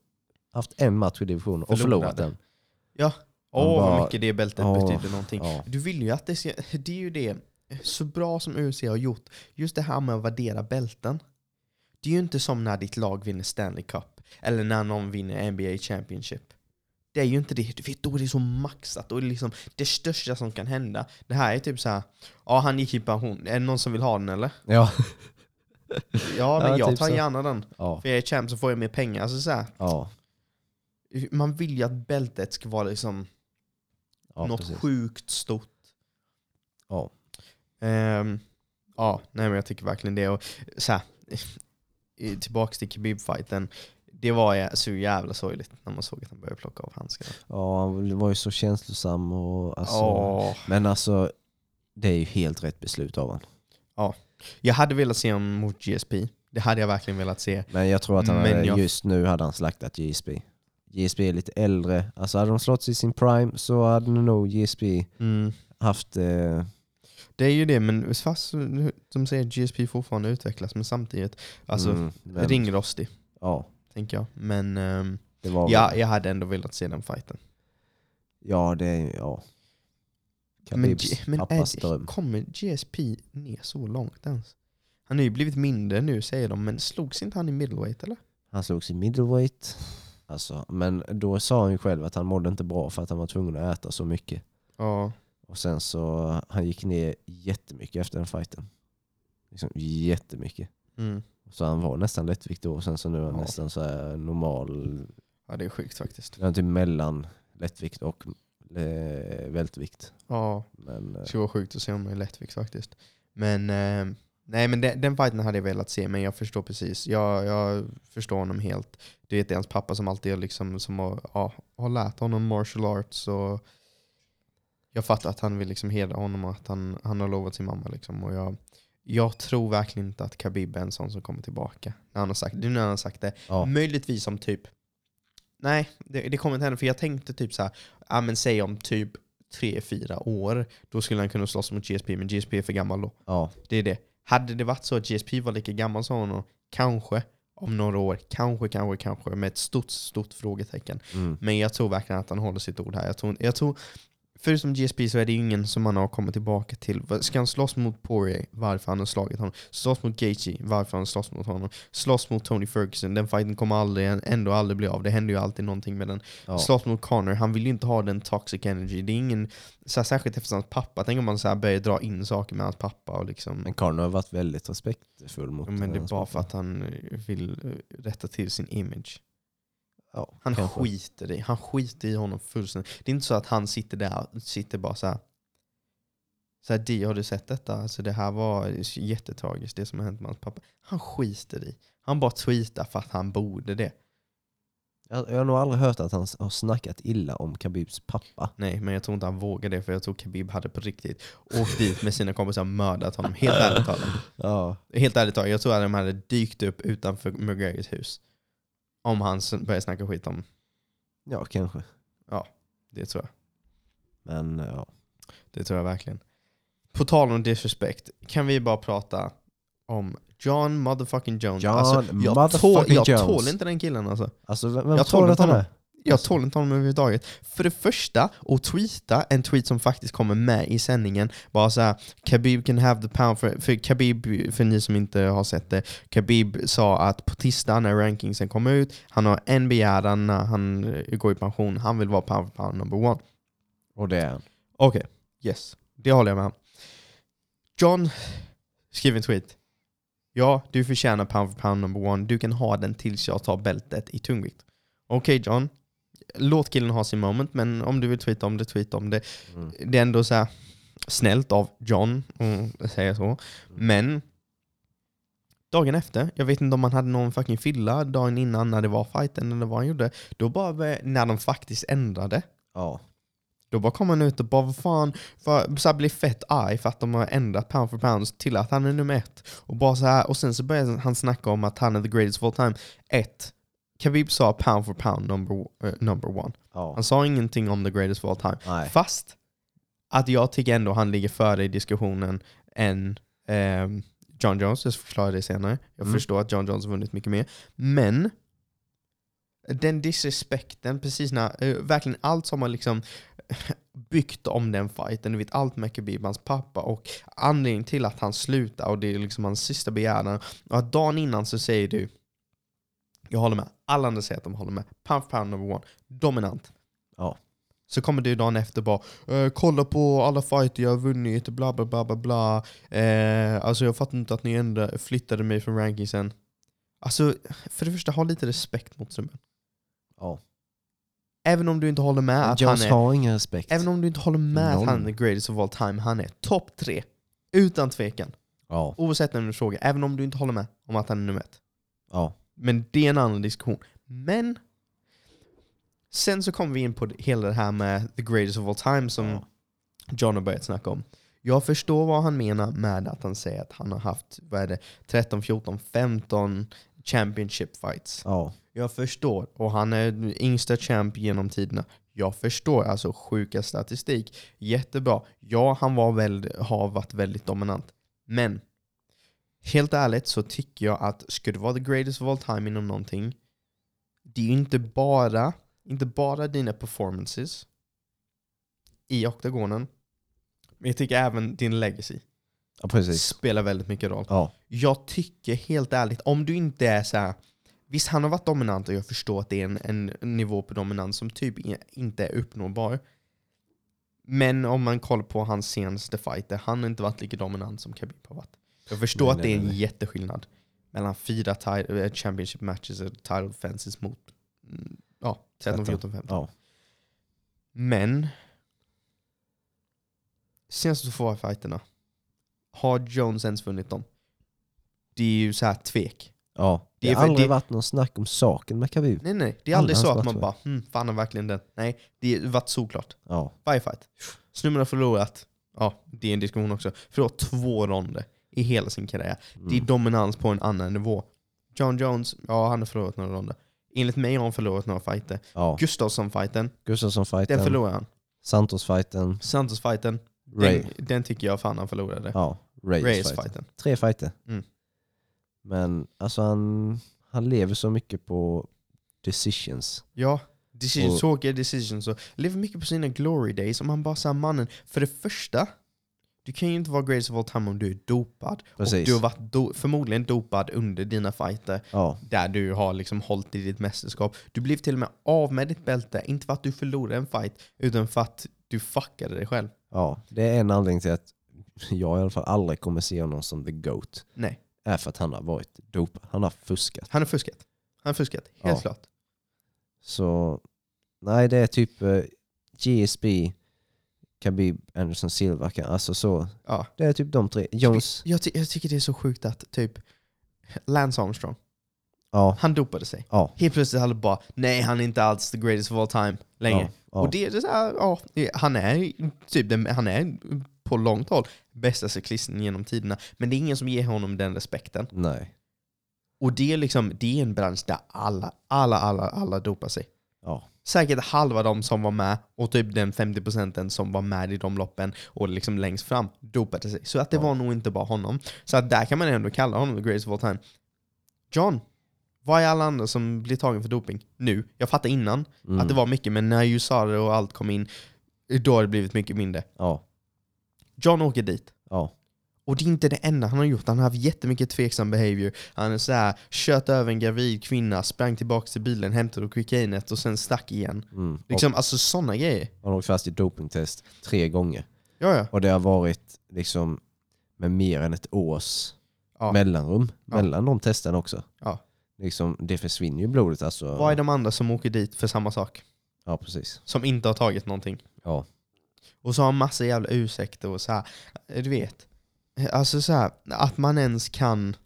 haft en match i divisionen och Förlorade. förlorat den. Åh vad bara- mycket det bältet Åh, betyder någonting. Ja. Du vill ju att det ska, [laughs] det är ju det, så bra som UFC har gjort, just det här med att värdera bälten. Det är ju inte som när ditt lag vinner Stanley Cup, eller när någon vinner NBA Championship. Det är ju inte det, du vet då är det så maxat, då är det liksom det största som kan hända. Det här är typ så här, ja han gick i pension, är det någon som vill ha den eller? Ja. Ja men Ja, jag typ tar så. gärna den, ja. för jag är champ så får jag mer pengar. Alltså så här, ja. man vill ju att bältet ska vara liksom ja något precis. sjukt stort. Ja. Ehm, ja, nej men jag tycker verkligen det. Och, så här, [laughs] i- tillbaks till Khabib-fighten. Det var ju så jävla sorgligt när man såg att han började plocka av handskarna. ja, han var ju så känslosam och alltså, Åh. Men alltså, det är ju helt rätt beslut av han. Jag hade velat se honom mot GSP. Det hade jag verkligen velat se. Men jag tror att han Men hade, jag- just nu hade han slaktat GSP. GSP är lite äldre. Alltså hade de slått i sin prime så hade nog GSP Mm. haft... Eh, Det är ju det, men fast som säger GSP fortfarande utvecklas, men samtidigt, alltså mm, men- ringrostig, Ja, tänker jag. Men ehm, det var... ja, jag hade ändå velat se den fighten. ja det är... Ja. Men, Khabibs G- men pappas är, det- dröm. kommer GSP ner så långt ens? Han har ju blivit mindre nu säger de, men slogs inte han i middleweight eller? Han slogs i middleweight. Alltså, men då sa han ju själv att han mådde inte bra för att han var tvungen att äta så mycket. Ja. Och sen så, han gick ner jättemycket efter den fighten. Liksom jättemycket. Mm. Så han var nästan lättvikt då och sen så nu är han Ja. nästan så här normal Ja det är sjukt faktiskt. Den är typ mellan lättvikt och eh, vältvikt. Ja, Men, eh, det skulle vara sjukt att se honom i lättvikt faktiskt. Men eh, nej men den, den fighten hade jag velat se, men jag förstår precis. Jag, jag förstår honom helt. Du vet det är hans pappa som alltid har liksom, som har, ja, har lärt honom martial arts och jag fattar att han vill liksom hedra honom och att han, han har lovat sin mamma liksom. Och jag, jag tror verkligen inte att Khabib är en sån som kommer tillbaka. När han har sagt, nu när han har sagt det. ja, Möjligtvis som typ, nej det, det kommer inte hända. För jag tänkte typ så här, ja men säg om typ tre fyra år, då skulle han kunna slåss mot GSP, men GSP är för gammal då. ja, Det är det. Hade det varit så att GSP var lika gammal som honom, kanske om några år, kanske, kanske, kanske med ett stort, stort frågetecken. mm, Men jag tror verkligen att han håller sitt ord här. Jag tror, jag tror förutom GSP så är det ju ingen som han har kommit tillbaka till. Va- Ska han slåss mot Poirier, varför han har slagit honom. Slåss mot Gaethje, varför han slåss mot honom. Slåss mot Tony Ferguson, den fighten kommer aldrig, ändå aldrig bli av. Det händer ju alltid någonting med den. ja, Slåss mot Connor, han vill ju inte ha den toxic energy. Det är ingen, så här, särskilt efter hans pappa, tänk om man så här börjar dra in saker med hans pappa. Och liksom, Men Karno har varit väldigt respektfull mot men det är hans bara pappa. för att han eh, vill eh, rätta till sin image. ja, Han kanske. skiter i han skiter i honom fullständigt. Det är inte så att han sitter där och sitter bara så här. Så här Di, har du sett detta? Alltså det här var jättetragiskt det som har hänt med hans pappa. Han skiter i. Han bara tweetar för att han borde det. Jag, jag har nog aldrig hört att han s- har snackat illa om Khabibs pappa. Nej, men jag tror inte han vågade det för jag tror Khabib hade på riktigt åkt dit med sina kompisar och mördat honom. Helt ärligt talat. Ja, Helt ärligt talat, jag tror att de hade dykt upp utanför McGregors hus. Om han s- började snacka skit om ja kanske. det tror jag. Men eh, ja. Det tror jag verkligen. På tal om disrespect, kan vi bara prata om John motherfucking Jones. Alltså, John jag motherfucking tål, jag Jones. tål inte den killen alltså. Alltså vem, vem Jag tror tror du att han inte är? Jag Alltså. tål inte honom överhuvudtaget. För det första, att tweeta en tweet som faktiskt kommer med i sändningen. Bara så här, Khabib can have the pound. För, för Khabib, för ni som inte har sett det, Khabib sa att på tisdag när rankingsen kommer ut, han har en begäran när han eh, går i pension. Han vill vara pound for pound number one. Och det är han. Okej, yes. Det håller jag med om. John skriver en tweet. Ja, du förtjänar pound for pound number one. Du kan ha den tills jag tar bältet i tungvikt. Okej John, låt killen ha sin moment, men om du vill tweeta om det, tweeta om det. Mm. Det är ändå så här snällt av John att säga så. Men dagen efter, jag vet inte om han hade någon fucking fylla dagen innan när det var fighten eller vad han gjorde. Då bara började- när de faktiskt ändrade Ja, då bara kom han ut och bara vad fan, för, så här blir fett arg för att de har ändrat pound for pound till att han är nummer ett. Och, bara så här, och sen så börjar han snacka om att han är the greatest of all time. Ett, Khabib sa pound for pound number, eh, number one. Ja. Han sa ingenting om the greatest of all time. Nej. Fast att jag tycker ändå han ligger före i diskussionen än ehm, John Jones. Jag ska förklara det senare. Jag Mm. förstår att John Jones har vunnit mycket mer. Men den disrespekten, precis när, eh, verkligen allt som har liksom [laughs] byggt om den fighten, du vet allt med Khabib, hans pappa och anledningen till att han slutar och det är liksom hans sista begäran. Och att dagen innan så säger du jag håller med, alla andra säger att de håller med, pound for pound number one, dominant. Ja. Så kommer du dagen efter bara eh, kolla på alla fighter jag har vunnit, bla bla bla bla bla. Eh, alltså jag fattar inte att ni ändå flyttade mig från rankingsen. Alltså, för det första, ha lite respekt mot strömmen. Ja. Även om du inte håller med att han Jones är... har ingen respekt. Även om du inte håller med Noll. att han är the greatest of all time, han är topp tre. Utan tvekan. Ja. Oavsett när du frågar, även om du inte håller med om att han är nummer ett. Ja. Men det är en annan diskussion. Men sen så kommer vi in på det- hela det här med the greatest of all time som Ja. John har börjat snacka om. Jag förstår vad han menar med att han säger att han har haft vad är det, 13, 14, 15 championship fights. Ja. Jag förstår. Och han är den yngsta champ genom tiderna. Jag förstår. Alltså sjuka statistik. Jättebra. Ja, han var väl, har varit väldigt dominant. Men helt ärligt så tycker jag att skulle det vara the greatest of all time inom någonting, det är ju inte bara, inte bara dina performances i oktagonen, men jag tycker även din legacy ja precis. spelar väldigt mycket roll. Ja. Jag tycker helt ärligt, om du inte är så här. Visst, han har varit dominant och jag förstår att det är en, en nivå på dominans som typ i- inte är uppnåbar. Men om man kollar på hans senaste fighter, han har inte varit lika dominant som Khabib har varit. Jag förstår Nej, att det nej, är en nej, nej. jätteskillnad mellan fyra ti- eh, championship matches och title defenses mot mm, ja, 13, 14, 15. Ja. Men senaste två fighterna, har Jones ens vunnit dem? Det är ju så här tvek. ja. Det Det är har för- aldrig det- varit någon snack om saken med Khabib. Nej nej, det är aldrig Alla så hans att man matcher. bara hm, fan har verkligen den. Nej, det har varit såklart. Ja. Varje fight. Snubben har förlorat, ja det är en diskussion också, förlorat två ronder i hela sin karriär. Det är Mm. dominans på en annan nivå. John Jones, ja han har förlorat några ronder. Enligt mig har han förlorat några fighter. Ja. Gustafsson-fighten, den Gustafsson-fighten, förlorade han. Santos-fighten, Santos-fighten, Ray. den, den tycker jag fan han förlorade. Ja. Reyes-fighten. Reyes-fighten. Tre fighter. Mm. Men alltså han, han lever så mycket på decisions. Ja, decision, Och- tråkiga decisions och lever mycket på sina glory days. Om han bara säger mannen, för det första, du kan ju inte vara greatest of all time om du är dopad. Och Precis. du har varit do- förmodligen dopad under dina fighter Ja. där du har liksom hållit i ditt mästerskap. Du blev till och med av med ditt bälte, inte för att du förlorade en fight, utan för att du fuckade dig själv. Ja, det är en anledning till att jag i alla fall aldrig kommer se honom som the GOAT. Nej, är för att han har varit dopad. Han har fuskat. han har fuskat. Han har fuskat, helt Ja. klart. Så nej, det är typ eh, GSB, Khabib, Anderson Silva. kan- Alltså så. Ja. Det är typ de tre. Jones, Jag, ty- jag tycker det är så sjukt att typ Lance Armstrong, ja. han dopade sig. Ja. Helt plötsligt hade bara, nej han är inte alls the greatest of all time längre. ja, ja. Och det är så här, ja, han är typ den, han är på långt håll bästa cyklisten genom tiderna. Men det är ingen som ger honom den respekten. Nej. Och det är liksom, det är en bransch där alla, alla, alla, alla dopar sig. Ja. Säkert halva de som var med och typ den 50 procenten som var med i de loppen och liksom längst fram dopade sig. Så att det Ja. var nog inte bara honom. Så att där kan man ändå kalla honom the greatest of all time. John, vad är alla andra som blir tagen för doping nu? Jag fattar innan Mm. att det var mycket, men när USARE och allt kom in, då har det blivit mycket mindre. Ja. John åker dit. Ja. Och det är inte det enda han har gjort. Han har haft jättemycket tveksam behavior. Han är så här, kört över en gravid kvinna, sprang tillbaka till bilen, hämtade kokainet och sen stack igen. Mm. Liksom, alltså sådana grejer. Och han har åkt fast i dopingtest tre gånger. Ja, ja. Och det har varit liksom med mer än ett års Ja. mellanrum Ja. mellan de testen också. Ja. Liksom, det försvinner ju blodet alltså. Vad är de andra som åker dit för samma sak? Ja, precis. Som inte har tagit någonting. Ja. Och så har han massa jävla ursäkter och så här. Du vet. Alltså så här, att man ens kan...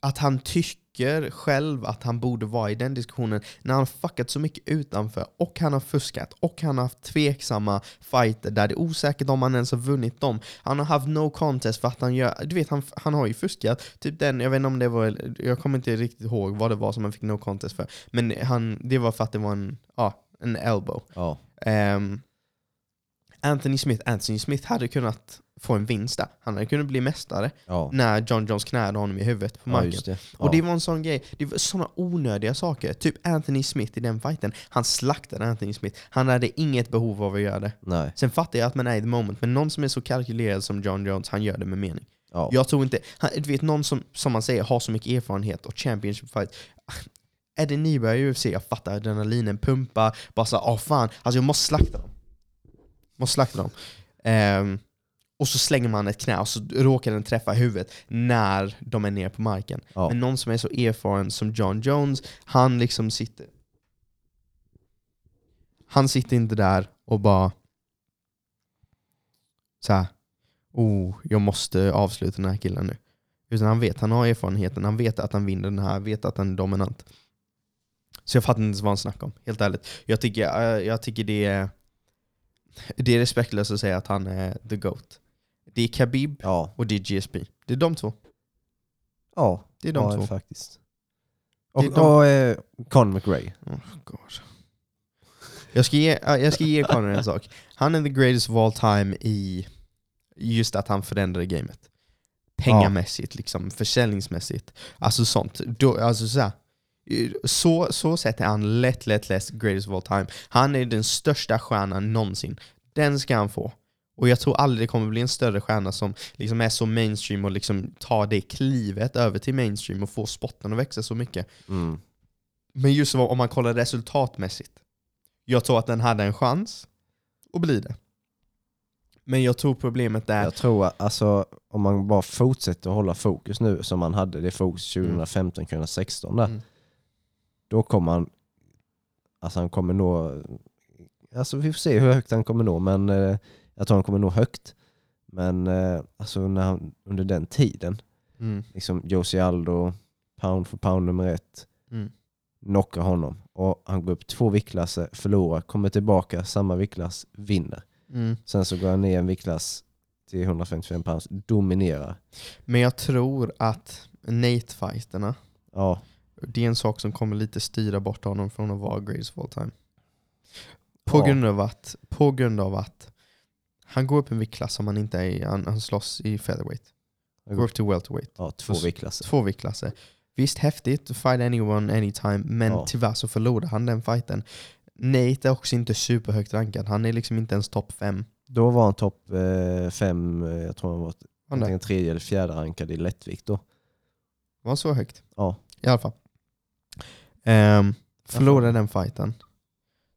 Att han tycker tycker själv att han borde vara i den diskussionen när han fuckat så mycket utanför och han har fuskat och han har haft tveksamma fighter där det är osäkert om han ens har vunnit dem. Han har haft no contest för att han gör, du vet han, han har ju fuskat. Typ den, jag vet inte om det var, jag kommer inte riktigt ihåg vad det var som han fick no contest för. Men han, det var för att det var en, ja, en elbow. Ja. Ehm, Anthony Smith, Anthony Smith hade kunnat få en vinst där. Han hade kunnat bli mästare Ja. när John Jones knäade honom i huvudet på ja, marken. just det. Ja. Mm. Och det var en sån grej, det var såna onödiga saker. Typ Anthony Smith i den fighten, han slaktade Anthony Smith. Han hade inget behov av att göra det. Nej. Sen fattar jag att man är i the moment, men någon som är så kalkylerad som John Jones, han gör det med mening. Ja. Jag tror inte, han, du vet någon som, som man säger har så mycket erfarenhet och championship fight. [sighs] Eddie Nyberg i UFC, jag fattar adrenalinen pumpar, bara såhär åh fan, alltså jag måste slakta dem. Måste slakta dem. Ehm, och så slänger man ett knä och så råkar den träffa huvudet när de är nere på marken. Ja. Men någon som är så erfaren som John Jones, han liksom sitter... Han sitter inte där och bara... Så här, oh, jag måste avsluta den här killen nu. Utan han vet, han har erfarenheten, han vet att han vinner den här, vet att han är dominant. Så jag fattar inte ens vad han snackar om, helt ärligt. Jag tycker, eh, jag tycker det, är, det är respektlöst att säga att han är the GOAT. Det är Khabib Ja. och det är GSP. Det är de två. Ja. Det är de ja, två. faktiskt. Och, Det är och, de- eh, Conor McRae. Oh, Jag ska ge, ja, jag ska ge Connor en sak. Han är the greatest of all time i just att han förändrade gamet. Pengamässigt, liksom, försäljningsmässigt. Alltså sånt. Då, alltså så, här, eh, så, så sett är han lätt, lätt, lätt greatest of all time. Han är den största stjärnan någonsin. Den ska han få. Och jag tror aldrig det kommer bli en större stjärna som liksom är så mainstream och liksom tar det klivet över till mainstream och får spotten att växa så mycket. Mm. Men just om man kollar resultatmässigt. Jag tror att den hade en chans att bli det. Men jag tror problemet är... Jag tror att alltså, om man bara fortsätter att hålla fokus nu som man hade det fokus 2015-2016 där, Mm. då kommer han alltså han kommer nå alltså vi får se hur högt han kommer nå men eh, jag tror han kommer nå högt men eh, alltså när han, under den tiden Mm. liksom Josie Aldo pound för pound nummer ett Mm. knockar honom och han går upp två viktklasser, förlorar, kommer tillbaka samma viktklass, vinner. Mm. Sen så går han ner en viktklass till 155 pounds, dominerar. Men jag tror att Nate-fighterna, Ja, det är en sak som kommer lite styra bort honom från att vara greatest of all time. På, Ja. grund av att, på grund av att han går upp en viktklass om han inte är i, han, han slåss i featherweight. Han Går upp till welterweight. ja två Och s- viktklasser. Två viktklasser. Visst häftigt, fight anyone anytime, men Ja. tyvärr så förlorade han den fighten. Nate är också inte superhögt rankad, han är liksom inte ens topp fem. Då var han topp eh, fem, eh, jag tror han var Han där. antingen tredje eller fjärde rankad i lättvikt då. var så högt. Ja. I alla fall. Ehm, förlorade den fighten.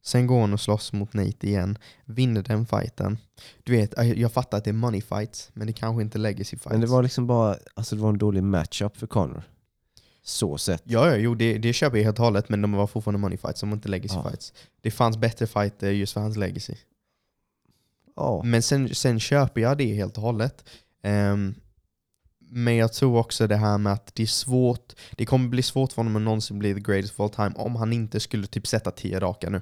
Sen går hon och slåss mot Nate igen. Vinner den fighten. Du vet, jag jag fattar att det är money fights, men det kanske inte legacy fights. Men det var liksom bara, alltså det var en dålig matchup för Conor. Så sett. Ja, ja jo, det, det köper jag helt och hållet, men de var fortfarande money fights, de var inte legacy Ja. fights. Det fanns bättre fighter just för hans legacy. Ja. Men sen, sen köper jag det helt och hållet. Ehm, men jag tror också det här med att det är svårt, det kommer bli svårt för honom att någonsin bli the greatest of all time om han inte skulle typ sätta tio raka nu.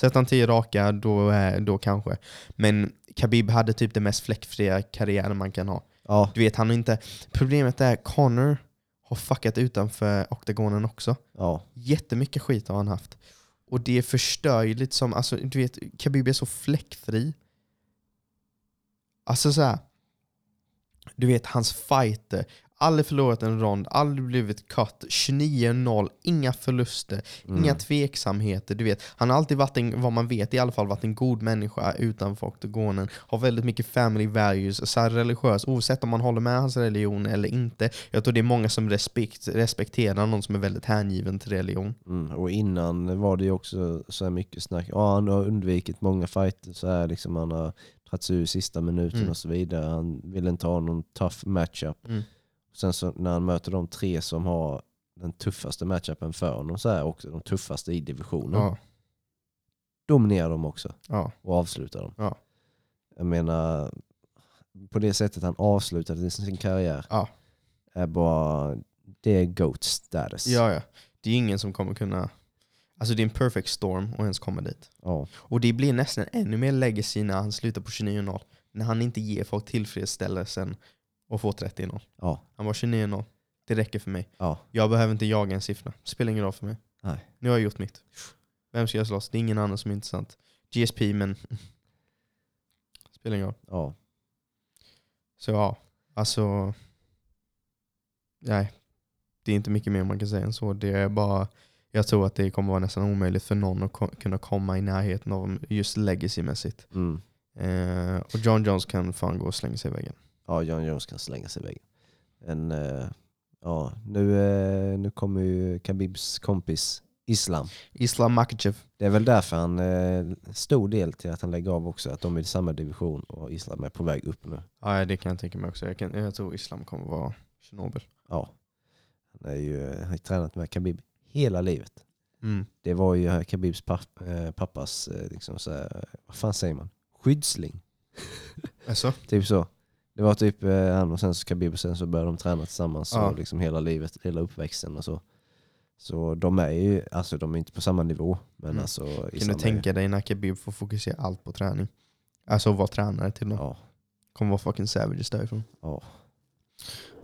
Sätter han tio raka, då, eh, då kanske. Men Khabib hade typ den mest fläckfria karriären man kan ha. Ja. Du vet, han har inte... Problemet är Connor har fuckat utanför oktagonen också. Ja. Jättemycket skit har han haft. Och det förstör ju lite som, alltså du vet, Khabib är så fläckfri. Alltså så här. Du vet, hans fighter. Aldrig förlorat en rond, aldrig blivit cut, 29-0, inga förluster, Mm. inga tveksamheter. Du vet, han har alltid varit, en, vad man vet i alla fall, varit en god människa utanför oktagonen. Har väldigt mycket family values, så här religiös, oavsett om man håller med hans religion eller inte. Jag tror det är många som respekt, respekterar någon som är väldigt hängiven till religion. Mm. Och innan var det ju också så här mycket snack. Ja, han har undvikit många fighter så här liksom. Han har tagit sig ur sista minuten Mm. och så vidare. Han vill inte ha någon tough matchup. Mm. Sen så när han möter de tre som har den tuffaste matchupen för honom så här också. De tuffaste i divisionen. Ja, Dominerar de också. ja. och avsluta dem. Ja. Jag menar, på det sättet han avslutade sin karriär Ja. är bara Det är GOAT status. Ja, ja. Det är ingen som kommer kunna... Alltså det är en perfect storm att ens komma dit. Ja. Och det blir nästan ännu mer legacy när han slutar på 29-0. När han inte ger folk tillfredsställelsen och får 30-0. Ja. Han var 29-0. Det räcker för mig. Ja. Jag behöver inte jaga en siffra. Spelar ingen roll för mig. Nej. Nu har jag gjort mitt. Vem ska jag slåss? Det är ingen annan som är intressant. GSP, men... [laughs] Spelar ingen roll. ja. Så ja, alltså... Nej, det är inte mycket mer man kan säga än så. Det är bara, jag tror att det kommer vara nästan omöjligt för någon att ko- kunna komma i närheten av dem just legacymässigt. Mm. Eh, och John Jones kan fan gå och slänga sig i väggen. Ja, John Jones kan slänga sig i väggen. En, eh, ja, nu, eh, nu kommer ju Khabibs kompis Islam. Islam Makachev. Det är väl därför han, eh, stor del till att han lägger av också, att de är i samma division och Islam är på väg upp nu. Ja, det kan jag tänka mig också. Jag, kan, jag tror Islam kommer vara Tjernobyl. Ja. Han, är ju, eh, han har ju tränat med Khabib hela livet. Det var ju eh, Khabibs papp, eh, pappas, eh, liksom så här, vad fan säger man, skyddsling. Alltså? Typ så. Det var typ eh, han och sen så Khabib och sen så började de träna tillsammans Ja. och liksom hela livet, hela uppväxten och så. Så de är ju, alltså de är inte på samma nivå. Men Mm. alltså i Kan du samma- tänka dig när Khabib får fokusera allt på träning? Alltså vara tränare till dem. Ja, Kommer vara fucking savages därifrån. ja.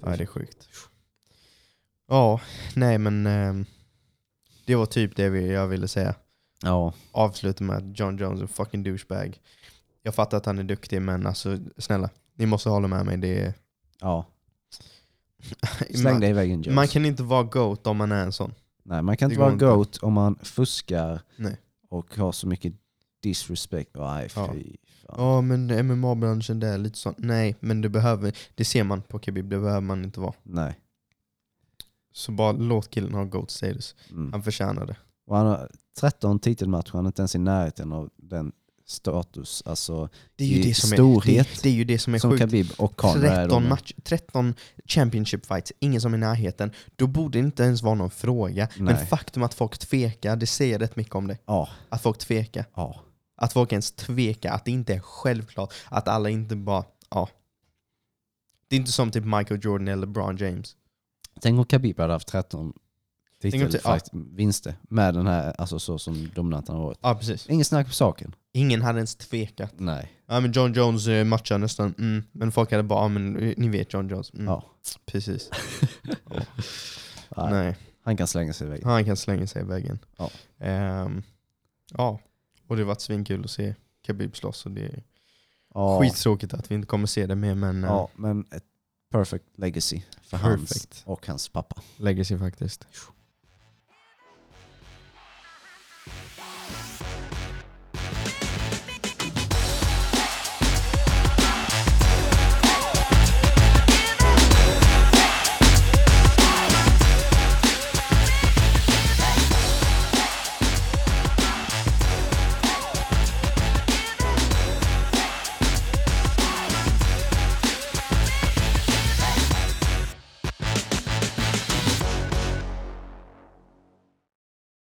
Ja, det är sjukt. Ja, nej men ehm, det var typ det vi- jag ville säga. Ja, Avsluta med att John Jones är en fucking douchebag. Jag fattar att han är duktig men alltså snälla, ni måste hålla med mig. Det är... [laughs] ja. [laughs] Släng man, dig i väggen Jones. man kan inte vara GOAT om man är en sån. Nej, man kan det inte går vara inte. GOAT om man fuskar Nej. och har så mycket disrespect. Nej, fy Ja. fan. Ja men MMA-branschen där, lite sånt. Nej, men det behöver, det ser man på Khabib, det behöver man inte vara. Nej. Så bara låt killen ha GOAT-status. Mm. Han förtjänar det. Och han har 13 titelmatcher, han är inte ens i närheten av den status, alltså Det är ju I det som är, storhet. det, det är, ju det som är som sjukt. Khabib och Conor är. 13, de. match, 13 championship fights, ingen som är i närheten. Då borde det inte ens vara någon fråga. Men Nej. faktum att folk tvekar, det säger rätt mycket om det. Ja, Att folk tvekar. ja. Att folk ens tvekar, att det inte är självklart. Att alla inte bara, ja. Det är inte som typ Michael Jordan eller LeBron James. Tänk om Khabib hade haft 13 Tänk om titel, ty- fight, vinster med den här, alltså så som dominant han har varit. Ja, precis. Ingen snack på saken. Ingen hade ens tvekat. Nej. Ja, men John Jones eh, matchar nästan, mm. men folk hade bara, ja, men eh, ni vet John Jones. Mm. Ja. Precis. Ja. Nej. Nej. Han kan slänga sig iväg. Han kan slänga sig i väggen. Ja. Ehm, ja. Och det har varit svinkul att se Khabib slåss. Och det är Ja. skittråkigt att vi inte kommer se det mer, men eh, Ja, men ett perfect legacy för hans Perfect. och hans pappa. legacy faktiskt.